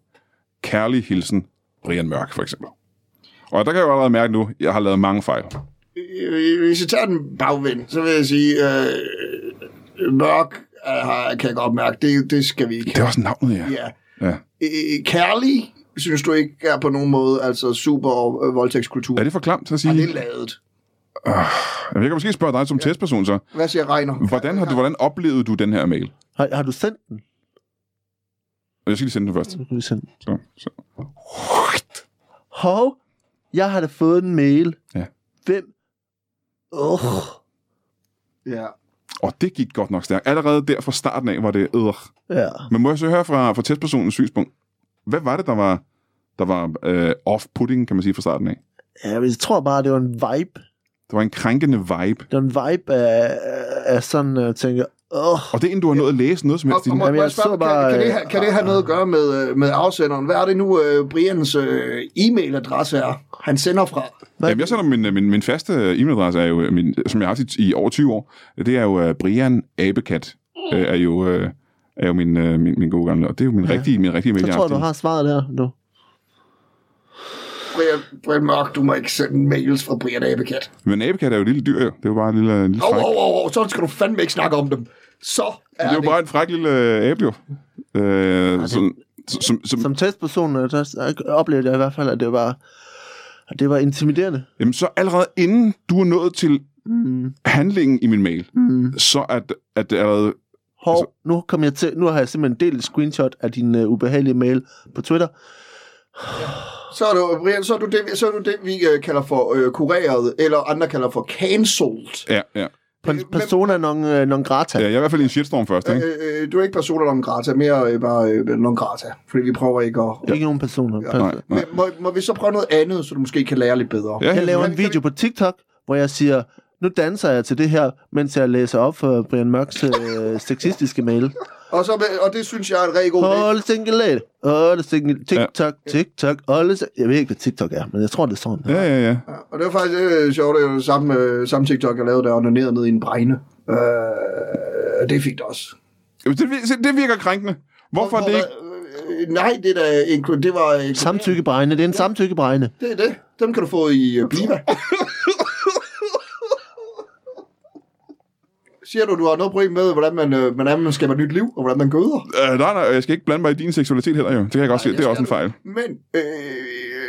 Speaker 1: Kærlig hilsen, Brian Mørk, for eksempel. Og der kan jeg jo allerede mærke nu, at jeg har lavet mange fejl.
Speaker 8: Øh, Hvis jeg tager den bagvendt, så vil jeg sige, øh, mørk øh, har- kan jeg godt mærke, det, det skal vi ikke
Speaker 1: Det er også navnet, ja.
Speaker 8: Ja.
Speaker 1: ja.
Speaker 8: Øh, kærlig, synes du ikke er på nogen måde altså super øh, voldtægtskultur?
Speaker 1: Er det for klamt at
Speaker 8: Og det
Speaker 1: sige?
Speaker 8: er lavet.
Speaker 1: Jeg kan måske spørge dig som testperson så.
Speaker 8: Hvad siger Reiner?
Speaker 1: Hvordan, har du, hvordan oplevede du den her mail?
Speaker 2: Har, har du sendt den?
Speaker 1: Og jeg skal lige sende den først.
Speaker 2: Nu kan vi sende den.
Speaker 1: Så, så.
Speaker 2: Hov, jeg har da fået en mail.
Speaker 1: Ja.
Speaker 2: Hvem? Åh,
Speaker 8: Ja.
Speaker 1: Og det gik godt nok stærkt. Allerede der fra starten af var det øh, æder.
Speaker 2: ja.
Speaker 1: Men må jeg så høre fra, fra testpersonens synspunkt, hvad var det, der var, der var øh, off-putting, kan man sige, fra starten af?
Speaker 2: ja men jeg tror bare, det var en vibe.
Speaker 1: Der var en krænkende vibe.
Speaker 2: Det var en vibe af, af sådan, at tænke, åh,
Speaker 1: Og det er, inden du har nået at læse noget som
Speaker 8: Og,
Speaker 1: helst.
Speaker 8: og
Speaker 1: inden.
Speaker 8: må,
Speaker 2: Jamen,
Speaker 8: må
Speaker 2: jeg
Speaker 8: jeg spørge,
Speaker 2: så bare,
Speaker 8: kan, kan, det,
Speaker 2: øh,
Speaker 8: have- kan det have noget at gøre med, øh, med afsenderen? Hvad er det nu, øh, Brians øh, e-mailadresse er, han sender fra?
Speaker 2: hvad-
Speaker 1: Jamen, jeg sender min, øh, min, min faste øh, e-mailadresse, er jo, øh, min, som jeg har haft i, i over 20 år. Det er jo uh, Brian Abekat, uh, er jo, uh, er jo min, uh, min, min gode gamle. Og det er jo min ja. rigtige, min rigtige mail.
Speaker 2: så
Speaker 1: jeg
Speaker 2: tror jeg, du
Speaker 1: haft i-
Speaker 2: har svaret der nu.
Speaker 8: Brian, Brian Mørk, du må ikke sende mails fra Brian Abekat.
Speaker 1: Men Abekat er jo et lille dyr, jo. Det er jo bare en lille, en lille
Speaker 8: Åh,
Speaker 1: fræk.
Speaker 8: åh, åh, åh, så skal du fandme ikke snakke om dem. Så er
Speaker 1: Det er jo
Speaker 8: det.
Speaker 1: bare en fræk lille øh, abe, jo. Uh, som, som, som,
Speaker 2: Som testperson øh, der øh, oplevede jeg i hvert fald, at det var, at det var intimiderende.
Speaker 1: Jamen så allerede inden du er nået til mm. handlingen i min mail, mm. så at, at det allerede...
Speaker 2: Hov,
Speaker 1: Altså-
Speaker 2: altså, nu, kom jeg til, nu har jeg simpelthen delt et screenshot af din uh, ubehagelige mail på Twitter.
Speaker 1: Øh,
Speaker 8: Så er du, Brian, så er du det, så er du det vi øh, kalder for øh, kureret, eller andre kalder for cancelled.
Speaker 1: Ja, ja.
Speaker 2: Pers- persona non, øh, non grata.
Speaker 1: ja jeg er i hvert fald i en shitstorm først, ikke?
Speaker 8: Øh, øh, du er ikke persona non grata, mere øh, bare øh, non grata, fordi vi prøver ikke at...
Speaker 2: Ikke nogen personer. Ja,
Speaker 1: Nej, nej.
Speaker 8: Men, må, må vi så prøve noget andet, så du måske kan lære lidt bedre?
Speaker 1: Ja,
Speaker 2: Jeg laver en video på TikTok, hvor jeg siger, nu danser jeg til det her, mens jeg læser op for Brian Mørks øh, sexistiske mail.
Speaker 8: Og, så, med- og det synes jeg er en rigtig god idé.
Speaker 2: All single lady, all single,
Speaker 1: Ja.
Speaker 2: TikTok, TikTok, all single. Jeg ved ikke, hvad TikTok er, men jeg tror, det er sådan.
Speaker 1: Ja, ja, ja.
Speaker 8: Og det var faktisk øh, sjovt, det er jo det samme, øh, samme TikTok, jeg lavede, der onanerede ned i en bregne. Øh, det er fint også.
Speaker 1: Jamen, Det, vir- se, det virker krænkende. Hvorfor er det ikke...
Speaker 8: Øh, nej, det der inkluderet, det var... øh,
Speaker 2: Samtykkebregne, det er en samtykkebregne.
Speaker 8: Det er det. Dem kan du få i øh, Bliva. Siger du, du har noget problem med, hvordan man, øh, hvordan man skaber nyt liv, og hvordan man gøder?
Speaker 1: Øh, nej, nej, jeg skal ikke blande mig i din seksualitet heller, jo. Det kan jeg godt se. Det er også en fejl.
Speaker 8: Men øh,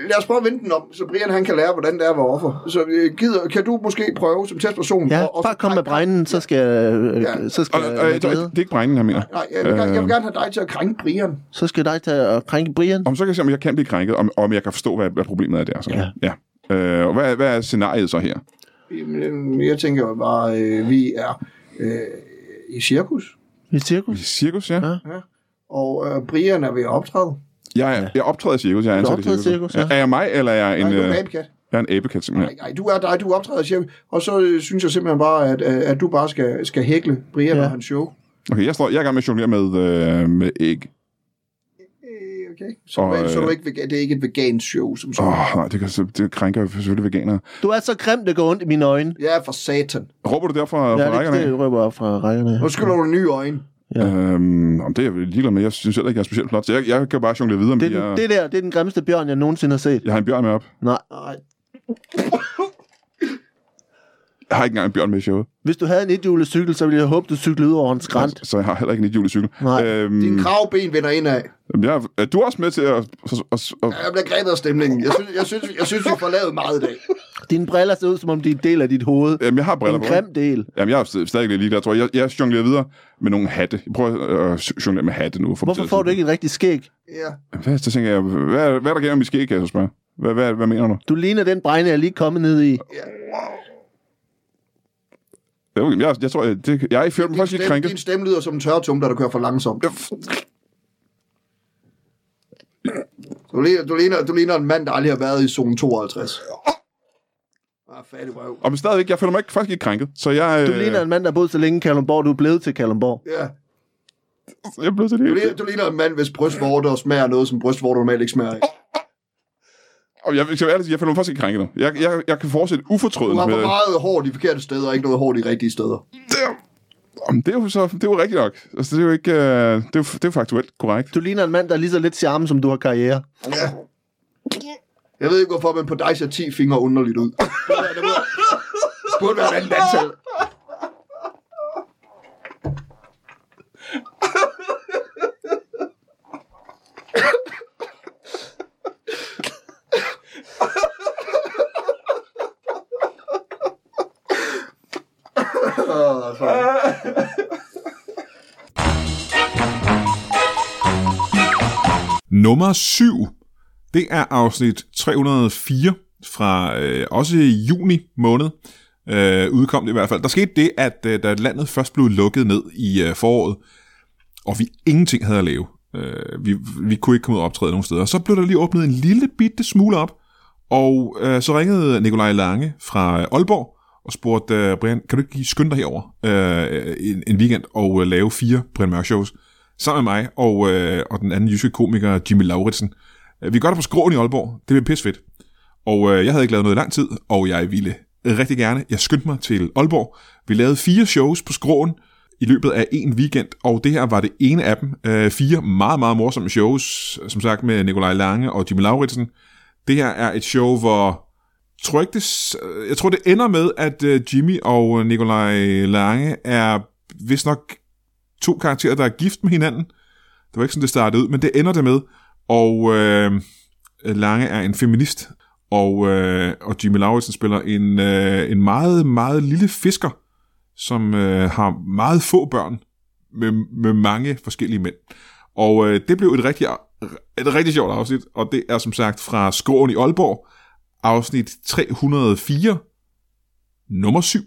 Speaker 8: lad os prøve at vende den om, så Brian han kan lære, hvordan det er at være offer. Så øh, gider, kan du måske prøve som testperson?
Speaker 2: Ja,
Speaker 8: og- og-
Speaker 2: bare kom med bregnen, så skal jeg, øh,
Speaker 8: Ja.
Speaker 2: så
Speaker 1: Og,
Speaker 2: skal jeg,
Speaker 1: og,
Speaker 2: være
Speaker 1: det,
Speaker 2: glad.
Speaker 1: det er ikke brændingen, jeg mener.
Speaker 8: Nej, jeg vil, gerne, jeg vil gerne have dig til at krænke Brian.
Speaker 2: så skal dig til at krænke Brian.
Speaker 1: Om så kan jeg se, om jeg kan blive krænket, om, om jeg kan forstå, hvad, hvad problemet er der. Så.
Speaker 2: Ja.
Speaker 1: ja. Øh, og hvad, hvad er scenariet så her?
Speaker 8: Jamen, øh, Jeg tænker jo bare, øh, vi er øh, i cirkus,
Speaker 2: I cirkus.
Speaker 1: Cirkus, ja.
Speaker 2: Ja.
Speaker 8: og øh, Brian er ved at optræde.
Speaker 1: Jeg, er, jeg optræder i cirkus, jeg er
Speaker 2: Du
Speaker 1: ansat i
Speaker 2: optræder i
Speaker 1: cirkus.
Speaker 2: cirkus, ja.
Speaker 1: Er jeg mig, eller er jeg en...
Speaker 8: Nej, du er
Speaker 1: øh,
Speaker 8: en abekat.
Speaker 1: Jeg er en abekat, simpelthen.
Speaker 8: Nej, nej, du er dig, du optræder i cirkus. Og så øh, synes jeg simpelthen bare, at, øh, at du bare skal, skal hækle Brian ja.
Speaker 2: Ja.
Speaker 8: og hans show.
Speaker 1: Okay, jeg, står, jeg er i gang med at jonglere med, øh, med æg.
Speaker 8: Øh, Okay. Så,
Speaker 1: Og,
Speaker 8: og, så er du
Speaker 1: øh,
Speaker 8: ikke vegan, det er ikke et vegansk show, som
Speaker 1: Åh,
Speaker 8: sådan.
Speaker 1: oh, nej, det, kan, det krænker jo selvfølgelig veganere.
Speaker 2: Du er så grim, det går ondt i mine øjne.
Speaker 8: Ja, for satan.
Speaker 1: Råber du der fra,
Speaker 2: Ja,
Speaker 1: fra
Speaker 2: det,
Speaker 1: rækkerne?
Speaker 2: det røber op fra rækkerne.
Speaker 8: Nu skylder du nye øjne.
Speaker 1: Øhm, om det er jeg vel ligeglad med. Jeg synes heller ikke, jeg er specielt flot. Så jeg, jeg kan bare jonglere videre.
Speaker 2: Det,
Speaker 1: Det,
Speaker 2: er den,
Speaker 1: jeg,
Speaker 2: det der, det er den grimmeste bjørn, jeg nogensinde har set.
Speaker 1: jeg har en bjørn med op.
Speaker 2: Nej.
Speaker 8: Nej.
Speaker 1: Jeg har ikke engang en bjørn med i showet.
Speaker 2: Hvis du havde en ethjulet cykel, så ville jeg håbe, du cyklede ud over en skrant.
Speaker 1: Så jeg har heller ikke en hjulet cykel.
Speaker 2: Nej.
Speaker 1: Øhm,
Speaker 8: Din kravben vender indad.
Speaker 1: jeg, er du også med til at... at, at, at
Speaker 8: Jeg bliver grebet af stemningen. Jeg synes, jeg synes, jeg synes vi får lavet meget i dag.
Speaker 2: Dine briller ser ud, som om de er en del af dit hoved.
Speaker 1: jamen, jeg har briller
Speaker 2: En
Speaker 1: på.
Speaker 2: grim del.
Speaker 1: Jamen, jeg er st- stadig lidt ligeglad, tror jeg. Jeg, jeg jonglerer videre med nogle hatte. Jeg prøver at øh, jonglere med hatte nu. For
Speaker 2: Hvorfor får du ikke et rigtig skæg?
Speaker 8: Ja.
Speaker 1: Hvad, så tænker jeg, hvad, hvad er der gælder med skæg, kan jeg så spørge? Hvad, hvad, hvad mener du?
Speaker 2: Du ligner den bregne, jeg er lige kommet ned i.
Speaker 1: Ja, okay, men Jeg, jeg tror, jeg, det, jeg er i fjorden, men faktisk lidt
Speaker 8: Stemme,
Speaker 1: krænket.
Speaker 8: din stemme lyder som en tørretumler, der kører for langsomt. Du ligner, du, ligner, du ligner en mand, der aldrig har været i zone 52. Ah, fattig røv.
Speaker 1: Og men stadigvæk, jeg føler mig ikke, faktisk ikke krænket. Så jeg, øh,
Speaker 2: Du ligner en mand, der har boet så længe i Kalundborg, du er blevet til Kalundborg.
Speaker 8: Ja.
Speaker 1: jeg er blevet til det.
Speaker 8: Du ligner, du ligner en mand, hvis brystvorter smager noget, som brystvorter normalt ikke smager af.
Speaker 1: Og jeg, jeg, jeg, jeg føler mig faktisk ikke krænket nu. Jeg, jeg, jeg kan fortsætte ufortrødende.
Speaker 8: Du har
Speaker 1: med-
Speaker 8: for meget hårdt i forkerte steder, og ikke noget hårdt i rigtige steder.
Speaker 1: Jamen, det er jo så, det er jo rigtigt nok. Altså, det er jo ikke, øh, det, er jo, det er jo faktuelt korrekt.
Speaker 2: Du ligner en mand, der er lige så lidt charme, som du har karriere.
Speaker 8: Ja. Jeg ved ikke, hvorfor, men på dig ser 10 fingre underligt ud. Det burde- det burde- det burde være et andet antal. Åh, sorry.
Speaker 7: Nummer 7, det er afsnit 304 fra øh, også i juni måned. Øh, udkom det i hvert fald. Der skete det, at øh, da landet først blev lukket ned i øh, foråret, og vi ingenting havde at lave. Øh, vi, vi kunne ikke komme ud og optræde nogen steder. Så blev der lige åbnet en lille bitte smule op, og øh, så ringede Nikolaj Lange fra øh, Aalborg og spurgte, øh, Brian, kan du ikke lige skynde dig herover øh, en, en weekend og øh, lave fire Brian Mørk shows sammen med mig og, øh, og den anden jyske komiker Jimmy Lauritsen. Øh, Vi gør det på skråen i Aalborg. Det bliver pissfedt. Og øh, jeg havde ikke lavet noget i lang tid, og jeg ville rigtig gerne. Jeg skyndte mig til Aalborg. Vi lavede fire shows på skråen i løbet af en weekend, og det her var det ene af dem. Øh, fire meget, meget morsomme shows, som sagt med Nikolaj Lange og Jimmy Lauritsen. Det her er et show, hvor jeg tror ikke, det, s- øh, jeg tror, det ender med, at øh, Jimmy og øh, Nikolaj Lange er vist nok to karakterer, der er gift med hinanden. Det var ikke sådan, det startede ud, men det ender det med. Og øh, Lange er en feminist, og, øh, og Jimmy Lauritsen spiller en, øh, en meget, meget lille fisker, som øh, har meget få børn med, med mange forskellige mænd. Og øh, det blev et rigtig, et rigtig sjovt afsnit, og det er som sagt fra Skåren i Aalborg, afsnit 304, nummer 7.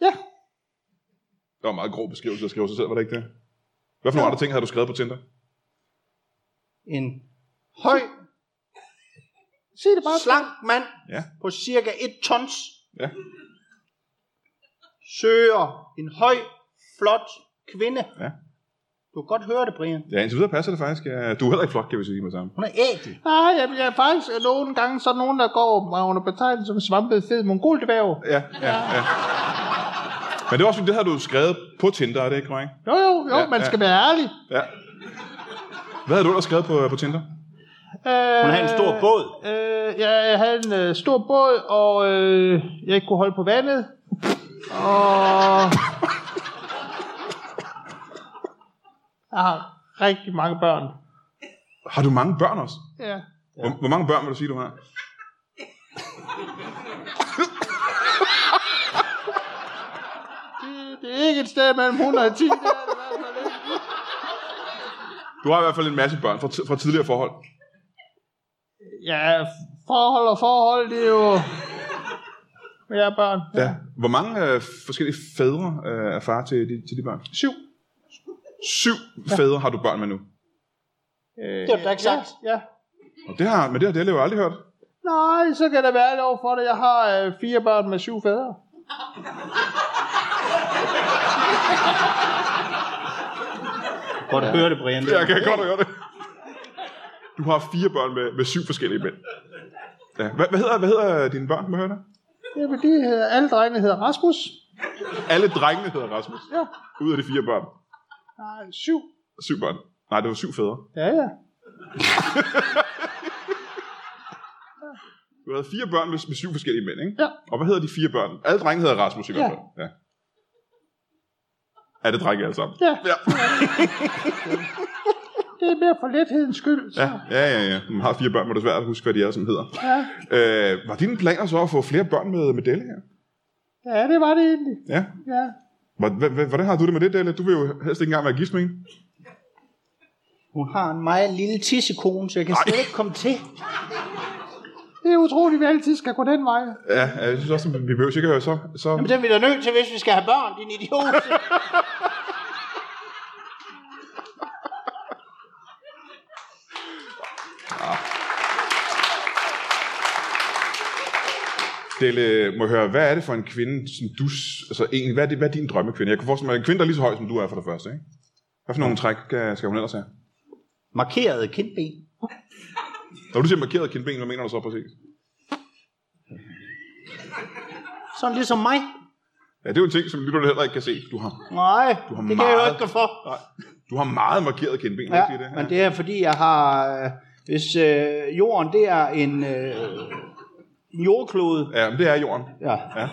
Speaker 1: Det var en meget grov beskrivelse at skrive sig selv, var det ikke det? Hvad for nogle andre ting havde du skrevet på Tinder?
Speaker 9: En høj,
Speaker 2: Sig det bare.
Speaker 9: slank mand
Speaker 1: Ja.
Speaker 9: på cirka 1 tons
Speaker 1: Ja.
Speaker 9: søger en høj, flot kvinde.
Speaker 1: Ja.
Speaker 9: Du kan godt høre det, Brian.
Speaker 1: Ja, indtil videre passer det faktisk. Ja. Du er heller ikke flot, kan vi sige med det samme.
Speaker 9: Hun er ægel. Nej, jeg bliver faktisk nogle gange så er der nogen, der går under betegnelsen som svampet fed mongoldværv.
Speaker 1: Ja, ja, ja. Men det var også, fordi, det havde du skrevet på Tinder, er det ikke korrekt?
Speaker 9: Jo, jo, jo,
Speaker 1: Ja,
Speaker 9: ja, man
Speaker 1: ja.
Speaker 9: skal være ærlig.
Speaker 1: Ja. Hvad havde du ellers skrevet på, på Tinder?
Speaker 9: Øh,
Speaker 4: Hun havde en stor båd.
Speaker 9: Øh, ja, jeg havde en øh, stor båd, og øh, jeg ikke kunne holde på vandet. Og... Jeg har rigtig mange børn.
Speaker 1: Har du mange børn også?
Speaker 9: Ja.
Speaker 1: Ja. Hvor, hvor mange børn vil du sige, du har?
Speaker 9: Det, det er ikke et sted mellem 110. Det er det i hvert fald ikke.
Speaker 1: Du har i hvert fald en masse børn fra, ti- fra tidligere forhold.
Speaker 9: Ja, forhold og forhold, det er jo... Men jeg er børn.
Speaker 1: Ja. Hvor mange øh, forskellige fædre øh, er far til de, til de børn? Syv. Syv ja. fædre har du børn med nu.
Speaker 9: Øh, det er da ikke sagt. Ja, ja.
Speaker 1: Og det har, men det har Delle jo aldrig hørt.
Speaker 9: Nej, så kan der være lov for det. Jeg har øh, fire børn med syv fædre.
Speaker 4: Godt høre det, Brian.
Speaker 1: Ja, jeg kan godt høre det. Du har fire børn med, med syv forskellige mænd. Ja. Hvad, hvad, hedder, hvad hedder dine børn, må jeg høre det?
Speaker 9: Ja, men de hedder, alle drengene hedder Rasmus.
Speaker 1: Alle drengene hedder Rasmus.
Speaker 9: Ja.
Speaker 1: Ud af de fire børn.
Speaker 9: Nej, syv.
Speaker 1: Syv børn. Nej, det var syv fædre.
Speaker 9: Ja, ja.
Speaker 1: Du havde fire børn med, med syv forskellige mænd, ikke?
Speaker 9: Ja.
Speaker 1: Og hvad hedder de fire børn? Alle drenge hedder Rasmus i hvert fald. Ja. Er det drenge alle sammen?
Speaker 9: Ja.
Speaker 1: Ja,
Speaker 9: Det er mere for lethedens skyld. Så.
Speaker 1: ja, ja. ja, ja. Man har fire børn, må det svært at huske, hvad de er, som hedder.
Speaker 9: ja.
Speaker 1: Øh, var dine planer så at få flere børn med, med Delle her?
Speaker 9: Ja, det var det egentlig.
Speaker 1: Ja.
Speaker 9: Ja.
Speaker 1: Hvor- hvor- hvor- Hvordan har du det med det, Delle? Du vil jo helst ikke engang være gift med hende.
Speaker 9: Hun har en meget lille tissekone, så jeg kan
Speaker 1: slet
Speaker 9: ikke komme til. Det er utroligt, at vi altid skal gå den vej.
Speaker 1: Ja, ja, jeg synes også, at vi behøver ikke at høre så... så...
Speaker 9: Men den er vi da nødt til, hvis vi skal have børn, din idiot.
Speaker 4: øh,
Speaker 1: Delle, må jeg høre, hvad er det for en kvinde, som du... s- Altså egentlig, hvad er, det, hvad er din drømmekvinde? Jeg kunne forestille mig, en kvinde, der er lige så høj, som du er for det første, ikke? Hvad for nogle træk øh, skal hun ellers have?
Speaker 3: Markerede kindben.
Speaker 4: Når du siger markeret kindben, hvad mener du så præcis?
Speaker 3: Sådan ligesom mig.
Speaker 4: Ja, det er jo en ting, som lytterne heller ikke kan se. Du har,
Speaker 9: Nej,
Speaker 4: Du har
Speaker 9: det kan jeg jo
Speaker 4: meget-
Speaker 9: ikke gå for.
Speaker 4: nej, du har meget markeret kindben, ja,
Speaker 9: Ja,
Speaker 4: ikke det?
Speaker 9: men det er fordi, jeg har... Øh, hvis øh, jorden, det er en, øh, en jordklode.
Speaker 4: Ja, men det er jorden.
Speaker 9: Ja.
Speaker 4: Ja.
Speaker 9: ja.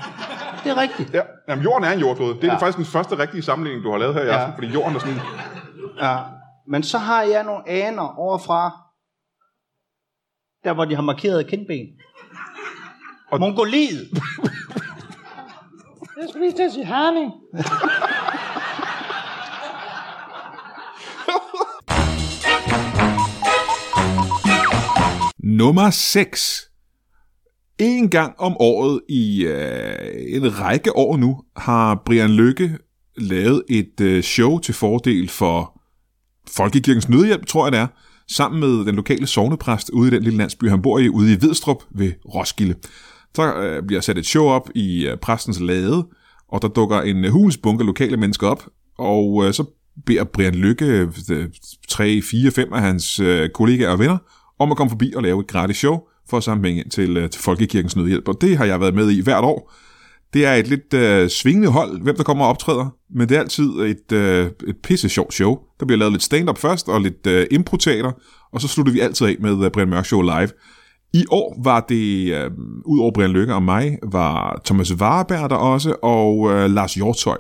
Speaker 9: Det er rigtigt.
Speaker 4: Ja, jamen, jorden er en jordklode. Det er ja.
Speaker 9: Ja.
Speaker 4: faktisk den første rigtige sammenligning, du har lavet her i
Speaker 9: Ja.
Speaker 4: aften, fordi jorden er sådan...
Speaker 9: Ja. Men så har jeg nogle aner overfra, der hvor de har markeret kindben.
Speaker 3: Og Mongoliet.
Speaker 9: Jeg skulle lige til at sige herning.
Speaker 1: Nummer 6. En gang om året i øh, en række år nu har Brian Lykke lavet et øh, show til fordel for Folkekirkens Nødhjælp, tror jeg det er, sammen med den lokale sovnepræst ude i den lille landsby, han bor i, ude i Vedstrup ved Roskilde. Så øh, bliver sat et show op i øh, præstens lade, og der dukker en øh, hulens bunke lokale mennesker op, og øh, så beder Brian Lykke øh, 3, 4, 5 af hans øh, kollegaer og venner om at komme forbi og lave et gratis show for at samle penge ind til, øh, til Folkekirkens Nødhjælp, og det har jeg været med i hvert år. Det er et lidt øh, svingende hold, hvem der kommer og optræder, men det er altid et, øh, et pisse sjovt show. Der bliver lavet lidt stand-up først og lidt øh, improteater, og så slutter vi altid af med øh, Brian Mørk Show live. I år var det, øh, ud over Brian Lykke og mig, var Thomas Warberg der også, og øh, Lars Hjortøj.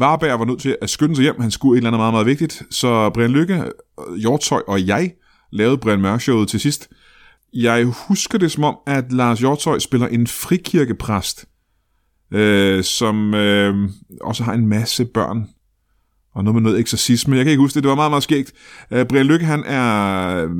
Speaker 1: Warberg var nødt til at skynde sig hjem, han skulle et eller andet meget, meget vigtigt, så Brian Lykke, øh, Hjortøj og jeg lavede Brian Mørk Showet til sidst. Jeg husker det som om, at Lars Hjortøj spiller en frikirkepræst, øh, som øh, også har en masse børn. Og noget med noget eksorcisme. Jeg kan ikke huske det. Det var meget, meget skægt. Øh, Brian Lykke, han er øh,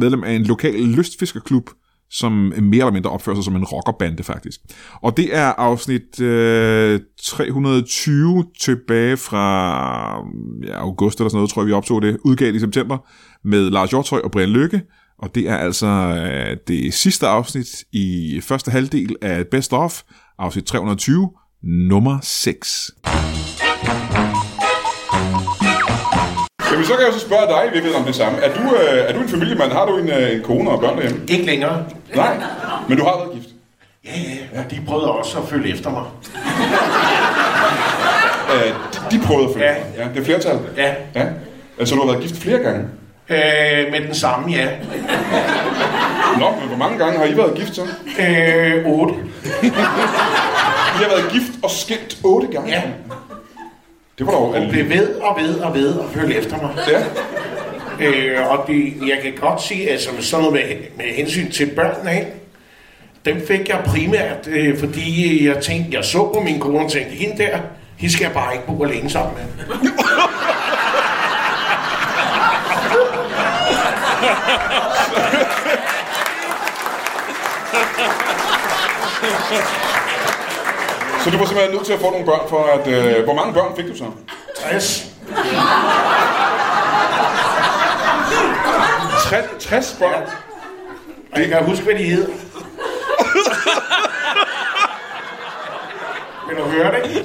Speaker 1: medlem af en lokal lystfiskerklub, som mere eller mindre opfører sig som en rockerbande, faktisk. Og det er afsnit øh, 320 tilbage fra mm, ja, august eller sådan noget, tror jeg, vi optog det. Udgav det i september med Lars Hjortøj og Brian Lykke. Og det er altså øh, det sidste afsnit i første halvdel af Best Of, afsnit 320, nummer 6.
Speaker 4: Jamen, så kan jeg jo så spørge dig i virkeligheden om det samme. Er du, øh, er du en familiemand? Har du en, øh, en kone og børn derhjemme?
Speaker 10: Ikke længere.
Speaker 4: Nej, men du har været gift.
Speaker 10: Ja, ja, ja. De prøvede også at følge efter mig.
Speaker 4: Øh, de, de prøvede at følge
Speaker 10: Ja.
Speaker 4: dig. ja. Det er flertal.
Speaker 10: Ja.
Speaker 4: ja. Øh, Så du har været gift flere gange?
Speaker 10: Øh, med den samme, ja.
Speaker 4: Nå, men hvor mange gange har I været gift så?
Speaker 10: Øh, 8.
Speaker 4: I har været gift og skilt otte gange.
Speaker 10: Ja.
Speaker 4: Det var dog
Speaker 10: Hun
Speaker 4: alene.
Speaker 10: blev ved og ved og ved og følge efter mig.
Speaker 4: Ja.
Speaker 10: Øh, og det, jeg kan godt sige, altså med sådan noget med, med hensyn til børnene, ikke? dem fik jeg primært, øh, fordi jeg tænkte, jeg så på min kone og tænkte, hende der, hende skal jeg bare ikke bo alene sammen med.
Speaker 4: Så du var simpelthen nødt til at få nogle børn for at... Øh, hvor mange børn fik du så?
Speaker 10: 60.
Speaker 4: 60, 60 børn?
Speaker 10: Og jeg kan huske, hvad de hed. Vil du høre det?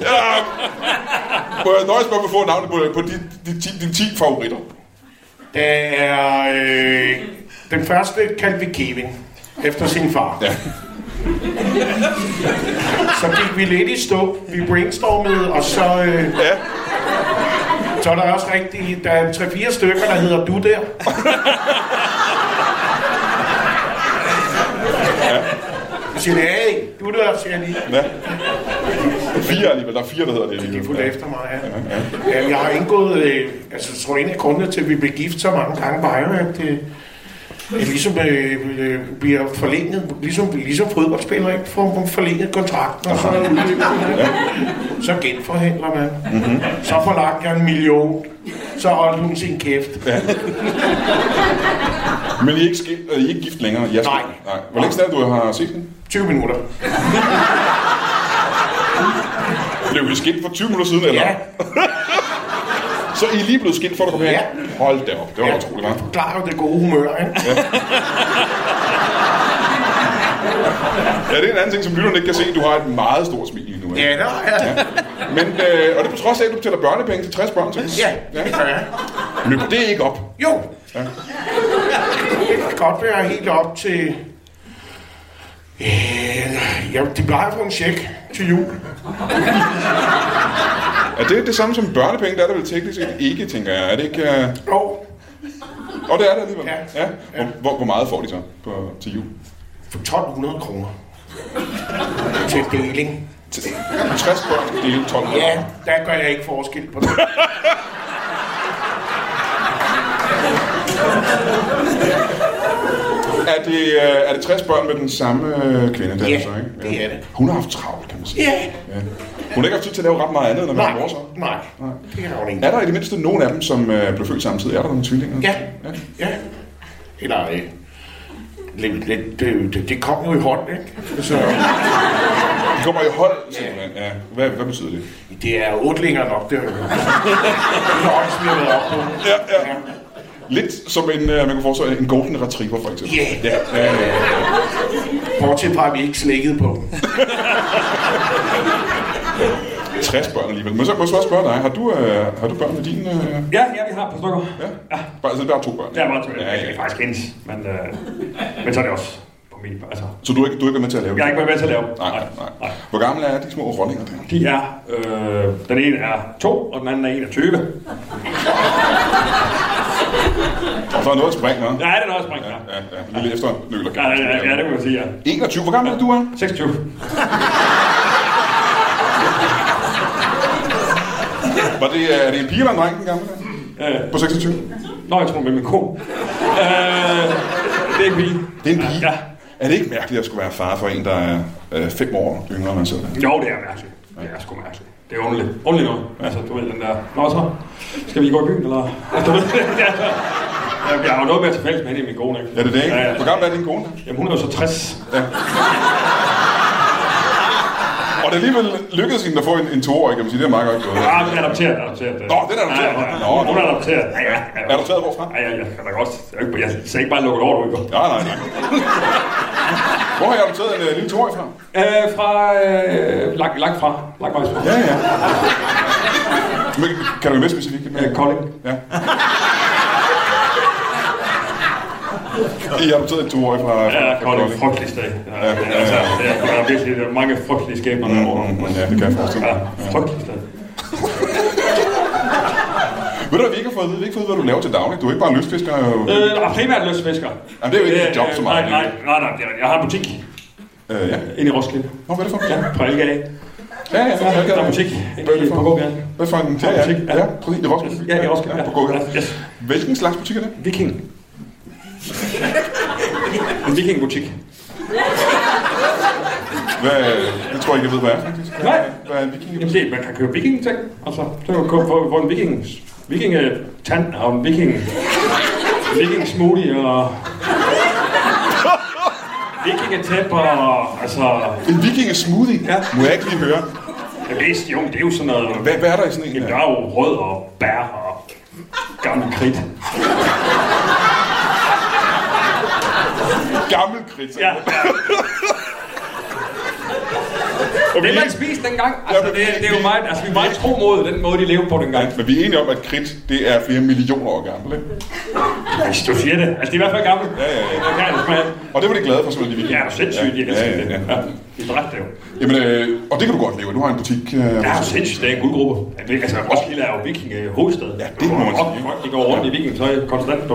Speaker 4: Må jeg nøjes med at få navnet på, på de, de, de, de 10 favoritter?
Speaker 10: Der er... Øh, den første kaldte vi Kevin, efter sin far.
Speaker 4: Ja.
Speaker 10: Så gik vi lidt i stå, vi brainstormede, og så... Øh,
Speaker 4: Ja.
Speaker 10: Så er der også rigtig... Der er 3-4 stykker, der hedder Du Der. Jeg siger, hey, du der, siger jeg lige.
Speaker 4: ja. Fire alligevel. Der er fire, der hedder det alligevel.
Speaker 10: De fulgte efter mig, ja. Jamen, jeg har indgået... Øh, altså, jeg tror, en af grundene til, at vi blev gift så mange gange, var jo, at det øh, ligesom øh, øh, bliver forlænget, ligesom, ligesom fodboldspillere, ikke? Får man forlænget kontrakten, og så, så genforhandler man. Så forlangte jeg en million. Så holdt hun sin kæft.
Speaker 4: Men I er ikke, skilt, øh, I er ikke gift længere? I er skilt.
Speaker 10: Nej.
Speaker 4: Nej. Hvor længe snart du har set hende?
Speaker 10: 20 minutter.
Speaker 4: Blev I skilt for 20 minutter siden, eller?
Speaker 10: Ja,
Speaker 4: Så I er lige blevet skilt, for at komme her?
Speaker 10: Ja.
Speaker 4: Hold da op. Det var ja. utroligt, hva'?
Speaker 10: klar jo det gode humør, ikke?
Speaker 4: Ja, det er en anden ting, som lytterne ikke kan se. Du har et meget stort smil lige nu. ikke?
Speaker 10: Ja, der er
Speaker 4: Men, øh, og det er på trods af, at du betaler børnepenge til 60 børn, til.
Speaker 10: Ja, det gør jeg.
Speaker 1: Løber det ikke op?
Speaker 10: Jo. Ja. Det kan godt være helt op til... Øh, ja, de plejer at få en check til jul.
Speaker 1: Er det det samme som børnepenge? Der er der vel teknisk set ikke, tænker jeg. Er det ikke... Uh...
Speaker 10: Og
Speaker 1: Og det er der alligevel.
Speaker 10: Ja.
Speaker 1: ja. Hvor, hvor, hvor, meget får de så på, til jul?
Speaker 10: for 1200 kroner. til deling.
Speaker 1: Til 60 børn dele 12
Speaker 10: Ja, der gør jeg ikke forskel på det.
Speaker 1: Er det, øh, er det 60 børn med den samme øh, kvinde, der
Speaker 10: Ja,
Speaker 1: er så, ikke?
Speaker 10: det er det.
Speaker 1: Hun har haft travlt, kan man sige.
Speaker 10: Ja.
Speaker 1: Ja. Hun har ikke haft tid til at lave ret meget andet, end at være
Speaker 10: Nej,
Speaker 1: mor så.
Speaker 10: nej. Det kan der jo ikke.
Speaker 1: Er der i det mindste nogen af dem, som øh, blev født samtidig? Er der nogle tvillinger?
Speaker 10: Ja, ja. Eller, øh, lidt, lidt, det, det, det kom jo i hånd, ikke? Så,
Speaker 1: De kommer i hold, simpelthen. Ja. Hvad, hvad betyder det?
Speaker 10: det er otlinger nok, det har jeg hørt. Det er også, vi har været op på.
Speaker 1: Ja, ja. Lidt som en, øh, man kunne forestille sig, en golden retriever, for eksempel.
Speaker 10: Ja.
Speaker 1: Ja, ja, ja, ja.
Speaker 10: Bortset fra, at vi ikke slækkede på dem.
Speaker 1: 60 børn alligevel. Men så må jeg så også spørge dig, har du, øh, har du børn med din... Øh...
Speaker 11: Ja, ja, vi har et par stykker.
Speaker 1: Ja. Bare, altså, det er bare to børn.
Speaker 11: Det er meget tørt.
Speaker 1: Ja,
Speaker 11: Det er
Speaker 1: ja.
Speaker 11: faktisk hendes, men, øh, men så er det også på min. Altså,
Speaker 1: Så du har ikke, du har ikke været med til at lave
Speaker 11: jeg har ikke været med til at lave.
Speaker 1: Nej, nej, nej. Hvor gamle er de små rollinger der?
Speaker 11: De er, øh, den ene er 2, og den anden er 21.
Speaker 1: Og så er noget at springe, hva'?
Speaker 11: Ja, den er også sprængt. Ja,
Speaker 1: Ja, ja. Lille efter nøler.
Speaker 11: ja, ja, ja, det må man sige, ja.
Speaker 1: 21. Hvor gammel er du, er?
Speaker 11: 26.
Speaker 1: Var det, øh, er det en pige eller en dreng, den gamle?
Speaker 11: Øh,
Speaker 1: På 26?
Speaker 11: Nå, jeg tror med min ko. Øh, det er en pige.
Speaker 1: Det er en pige.
Speaker 11: Ja, ja.
Speaker 1: Er det ikke mærkeligt at skulle være far for en, der er øh, fem år yngre end man selv? er?
Speaker 11: Jo, det er mærkeligt. Det er sgu mærkeligt. Det er underligt. Underligt noget. Altså, du ved den der... Nå så, skal vi gå i byen, eller? Altså, du ved, det er så... Jeg har jo noget med at tilfælde med hende i min kone, ikke?
Speaker 1: Ja, det er det, ikke?
Speaker 11: Ja, ja.
Speaker 1: Hvor gammel er din kone?
Speaker 11: Jamen, hun er jo så 60.
Speaker 1: Og det alligevel lykkedes hende at få en, en toårig, kan man sige. Det er meget godt gået.
Speaker 11: Ja, men adopteret, adopteret.
Speaker 1: Nå, den er adopteret.
Speaker 11: Ja,
Speaker 1: Nå,
Speaker 11: ja, ja. Hun er adopteret. Ja, ja. ja.
Speaker 1: Adopteret hvorfra?
Speaker 11: Ja, ja, ja. Jeg, kan også, jeg, er ikke- jeg skal ikke bare lukke over, du ikke?
Speaker 1: Nej, nej, nej. Hvor har jeg adopteret en øh, lille toårig fra?
Speaker 11: Øh, fra... Øh, langt, langt fra. Langt vejs fra.
Speaker 1: Ja, ja. Men, kan du være mere specifik?
Speaker 11: Øh, Kolding.
Speaker 1: Ja. I har adopteret en toårig fra...
Speaker 11: Ja,
Speaker 1: fra- fra
Speaker 11: Kolding. Frygtelig sted. Ja,
Speaker 1: Ja, ja,
Speaker 11: altså,
Speaker 1: ja.
Speaker 11: det er, der er virkelig der er mange frygtelige skæbner
Speaker 1: Mm,
Speaker 11: derovre.
Speaker 1: mm, mm, Ja, det kan jeg forestille
Speaker 11: Ja,
Speaker 1: mig.
Speaker 11: frygteligt sted.
Speaker 1: Ah, Ved du, hvad vi ikke har fået at vide? Vi har ikke fået, hvad du laver til daglig. Du er ikke bare en lystfisker. jo.
Speaker 11: Øh, og primært løsfisker.
Speaker 1: Jamen, det er jo ikke et job så meget,
Speaker 11: Nej, nej, nej, nej, det er- jeg har en butik
Speaker 1: Øh, ja.
Speaker 11: inde i Roskilde.
Speaker 1: Nå, hvad er det for en?
Speaker 11: Ja, på Elgade.
Speaker 1: Ja, ja, ja, ja.
Speaker 11: Der er butik
Speaker 1: Hvad er det
Speaker 11: inde
Speaker 1: for
Speaker 11: på gågaden.
Speaker 1: Hvad for en? Ja, ja,
Speaker 11: butik,
Speaker 1: ja.
Speaker 11: ja.
Speaker 1: ja præcis. I Roskilde.
Speaker 11: Ja, i Roskilde,
Speaker 1: Ja,
Speaker 11: ja.
Speaker 1: på gågaden.
Speaker 11: Ja, yes.
Speaker 1: Hvilken slags butik er det?
Speaker 11: Viking. En vikingbutik.
Speaker 1: Hvad, det tror jeg ikke, jeg ved, hvad er. faktisk.
Speaker 11: Nej.
Speaker 1: Hvad er en viking?
Speaker 11: Jamen det, man kan købe vikingting, altså. Så kan man købe for, for en vikings, vikingetand og en viking, viking smoothie og... Vikingetæp og... Altså...
Speaker 1: En viking er smoothie?
Speaker 11: Ja.
Speaker 1: Må jeg ikke lige høre?
Speaker 11: Jeg læste, jo, det er jo sådan noget...
Speaker 1: Hvad, hvad er der i sådan en? øh,
Speaker 11: Jamen,
Speaker 1: her?
Speaker 11: der er jo rød og bær og gammel kridt.
Speaker 1: Gammel kridt.
Speaker 11: Ja, ja.
Speaker 1: Okay.
Speaker 11: Det man spiste dengang, altså, det, det er jo meget, altså, vi er meget tro mod den måde, de levede på dengang.
Speaker 1: Men vi er enige om, at kridt, det er flere millioner år gammel, ikke?
Speaker 11: Altså, du siger det. Altså, det er i hvert fald gammelt. Ja,
Speaker 1: ja, ja.
Speaker 11: ja. Det smager.
Speaker 1: Og det var de glade for, selvfølgelig, de
Speaker 11: Ja,
Speaker 1: vikinger.
Speaker 11: det er sindssygt, jeg elsker det. Ja, de dræbte det jo.
Speaker 1: Jamen, øh, og det kan du godt leve. af. Du har en butik. Øh,
Speaker 11: Ja, det er sindssygt, det er en guldgruppe. Jeg ved, altså, Roskilde er jo viking øh, hovedstad. Ja,
Speaker 1: det må man sige.
Speaker 11: Folk, de går rundt i vikingetøj konstant. Du.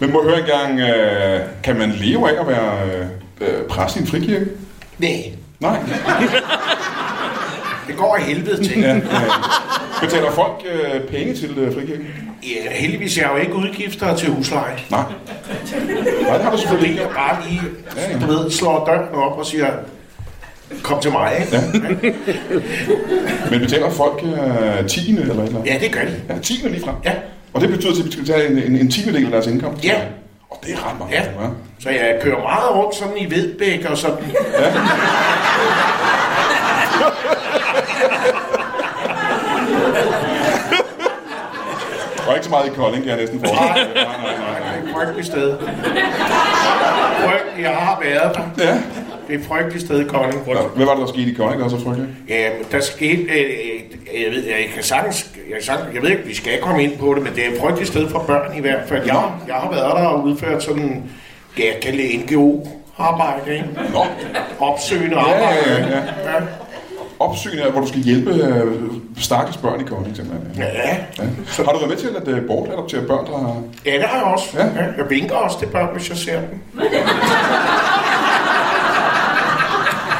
Speaker 1: Men må jeg høre engang, øh, kan man leve af at være øh, øh, præst i en frikirke?
Speaker 10: Nej,
Speaker 1: Nej.
Speaker 10: det går af helvede til.
Speaker 1: Ja, øh, betaler folk øh, penge til øh, frikirken?
Speaker 10: Ja, heldigvis er jeg jo ikke udgifter til husleje.
Speaker 1: Nej. Nej, det har du
Speaker 10: Fordi
Speaker 1: selvfølgelig ikke.
Speaker 10: jeg bare lige,
Speaker 1: Ja,
Speaker 10: du
Speaker 1: ja.
Speaker 10: ved, slår døren op og siger, kom til mig, ikke?
Speaker 1: Men betaler folk øh, tiende eller et eller andet?
Speaker 10: Ja, det gør de.
Speaker 1: Ja, tiende ligefrem.
Speaker 10: Ja.
Speaker 1: Og det betyder, at de skal betale en, en, en tiendedel af deres indkomst?
Speaker 10: Ja.
Speaker 1: Og det er ret meget.
Speaker 10: Ja. Så jeg kører meget rundt sådan i Vedbæk og sådan.
Speaker 1: Og ikke så meget i Kolding, kan jeg næsten forstå. Nej, nej, nej, nej.
Speaker 10: Det er et frygteligt sted. Frygt, jeg har været der.
Speaker 1: Ja.
Speaker 10: Det er et frygteligt sted, Kolding.
Speaker 1: Hvad var det, der skete i Kolding, der var så frygteligt?
Speaker 10: Ja, der skete, øh, øh, jeg ved, jeg kan sagtens jeg, sagt, jeg ved ikke, vi skal komme ind på det, men det er et frygteligt sted for børn i hvert fald. Jeg, jeg har været der og udført sådan, ja, jeg kan lide NGO arbejde, ikke? Op, opsøgende arbejde.
Speaker 1: ja, ja. ja. Opsyn er, hvor du skal hjælpe øh, stakkels børn i Kolding, simpelthen.
Speaker 10: Ja.
Speaker 1: ja. Så har du været med til at øh, bortadoptere børn, der har...
Speaker 10: Ja, det har jeg også. Ja. Jeg vinker også til børn, hvis jeg ser dem.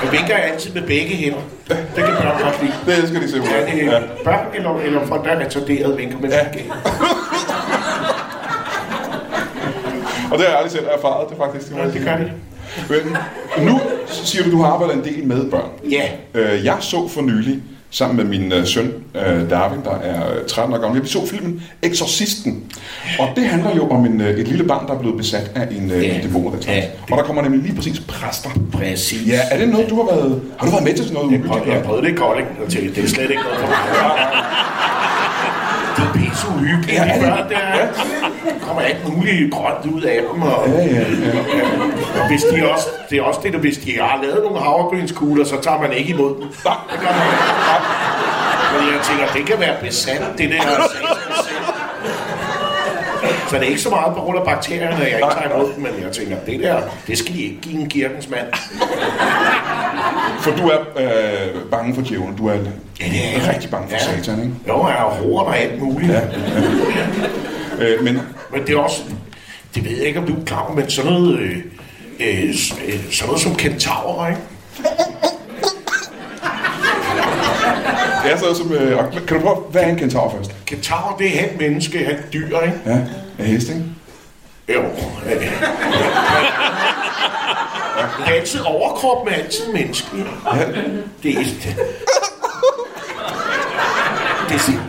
Speaker 10: Jeg vinker altid med begge hænder. Det kan børn godt lide.
Speaker 1: Det elsker de simpelthen.
Speaker 10: Ja, det er børn eller, eller folk, der er retarderet, vinker med begge hænder.
Speaker 1: Og det har jeg aldrig selv erfaret, det faktisk. Ja,
Speaker 10: det gør det.
Speaker 1: Men nu siger du, du har arbejdet en del med børn.
Speaker 10: Ja.
Speaker 1: Øh, jeg så for nylig, sammen med min øh, søn øh, Darwin, der er øh, 13 år gammel, vi så filmen Exorcisten. Og det handler jo om en, øh, et lille barn, der er blevet besat af en, øh,
Speaker 10: Ja.
Speaker 1: en dæmon. og Den slags.
Speaker 10: Ja,
Speaker 1: Og der kommer nemlig lige præcis præster.
Speaker 10: Præcis.
Speaker 1: Ja, er det noget, du har været... Har du været med til sådan noget?
Speaker 10: Jeg prøvede, jeg prøvede det i Kolding, og til, det er slet ikke noget for mig. Det er pisse uhyggeligt. Ja, det er det. Der kommer alt muligt grønt ud af dem. Og, ja, ja, ja. Og hvis de også, det er også det, der, hvis de har lavet nogle havregrynskugler, så tager man ikke imod dem. Nej, det gør man ikke. Nej. Men jeg tænker, det kan være besat, det der. Så det er ikke så meget på grund af bakterierne, at jeg ikke tager imod dem, men jeg tænker, det der, det skal de ikke give en kirkens mand.
Speaker 1: For du er øh, bange for djævlen. Du er ja,
Speaker 10: det
Speaker 1: er rigtig bange for
Speaker 10: Ja.
Speaker 1: satan, ikke?
Speaker 10: Jo, jeg har hår og alt muligt. Ja.
Speaker 1: Øh, men
Speaker 10: Men det er også, det ved jeg ikke, om du er klar over, men sådan noget, øh, øh, s- øh, sådan noget som kentaurer, ikke?
Speaker 1: det er sådan noget som... Øh, kan du prøve... Hvad er en kentaur først?
Speaker 10: Kentaurer, det er halvt menneske, halvt dyr, ikke?
Speaker 1: Ja, en hest, ikke?
Speaker 10: Jo. øh. Men Det er altid overkrop med altid menneske. Ja. Det er... Det, det er sådan-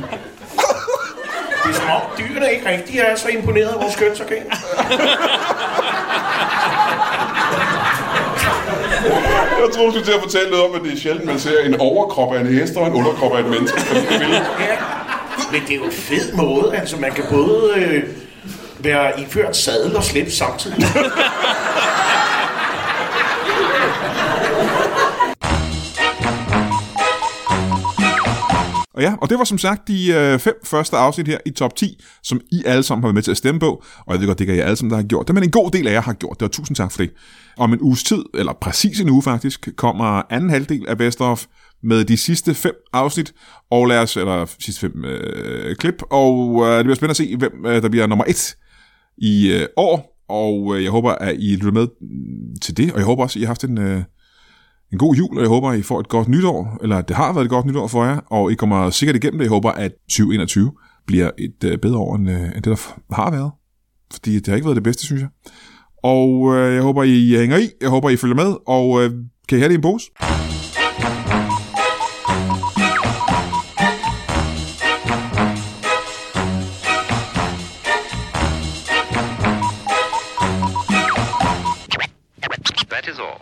Speaker 10: det er som om dyrene ikke rigtig er så imponeret af vores kønsorgan.
Speaker 1: Jeg tror, du skulle til at fortælle noget om, at det er sjældent, man ser en overkrop af en hest og en underkrop af et menneske. på det billede.
Speaker 10: Ja. Men det er jo en fed måde, altså man kan både øh, være iført sadel og slips samtidig.
Speaker 7: Og ja, og det var som sagt de øh, fem første afsnit her i top 10, som I alle sammen har været med til at stemme på. Og jeg ved godt, det ikke er jer alle sammen, der har gjort det, men en god del af jer har gjort det, og tusind tak for det. Om en uges tid, eller præcis en uge faktisk, kommer anden halvdel af Best of med de sidste fem afsnit, og lad os, eller sidste fem øh, klip, og øh, det bliver spændende at se, hvem øh, der bliver nummer et i øh, år, og øh, jeg håber, at I lytter med mm, til det, og jeg håber også, at I har haft en... Øh, en god jul, og jeg håber, I får et godt nytår, eller at det har været et godt nytår for jer, og I kommer sikkert igennem det. Jeg håber, at 2021 bliver et øh, bedre år, end, øh, end det, der f- har været. Fordi det har ikke været det bedste, synes jeg. Og øh, jeg håber, I hænger i. Jeg håber, I følger med, og øh, kan I have det i en pose?
Speaker 12: That is all.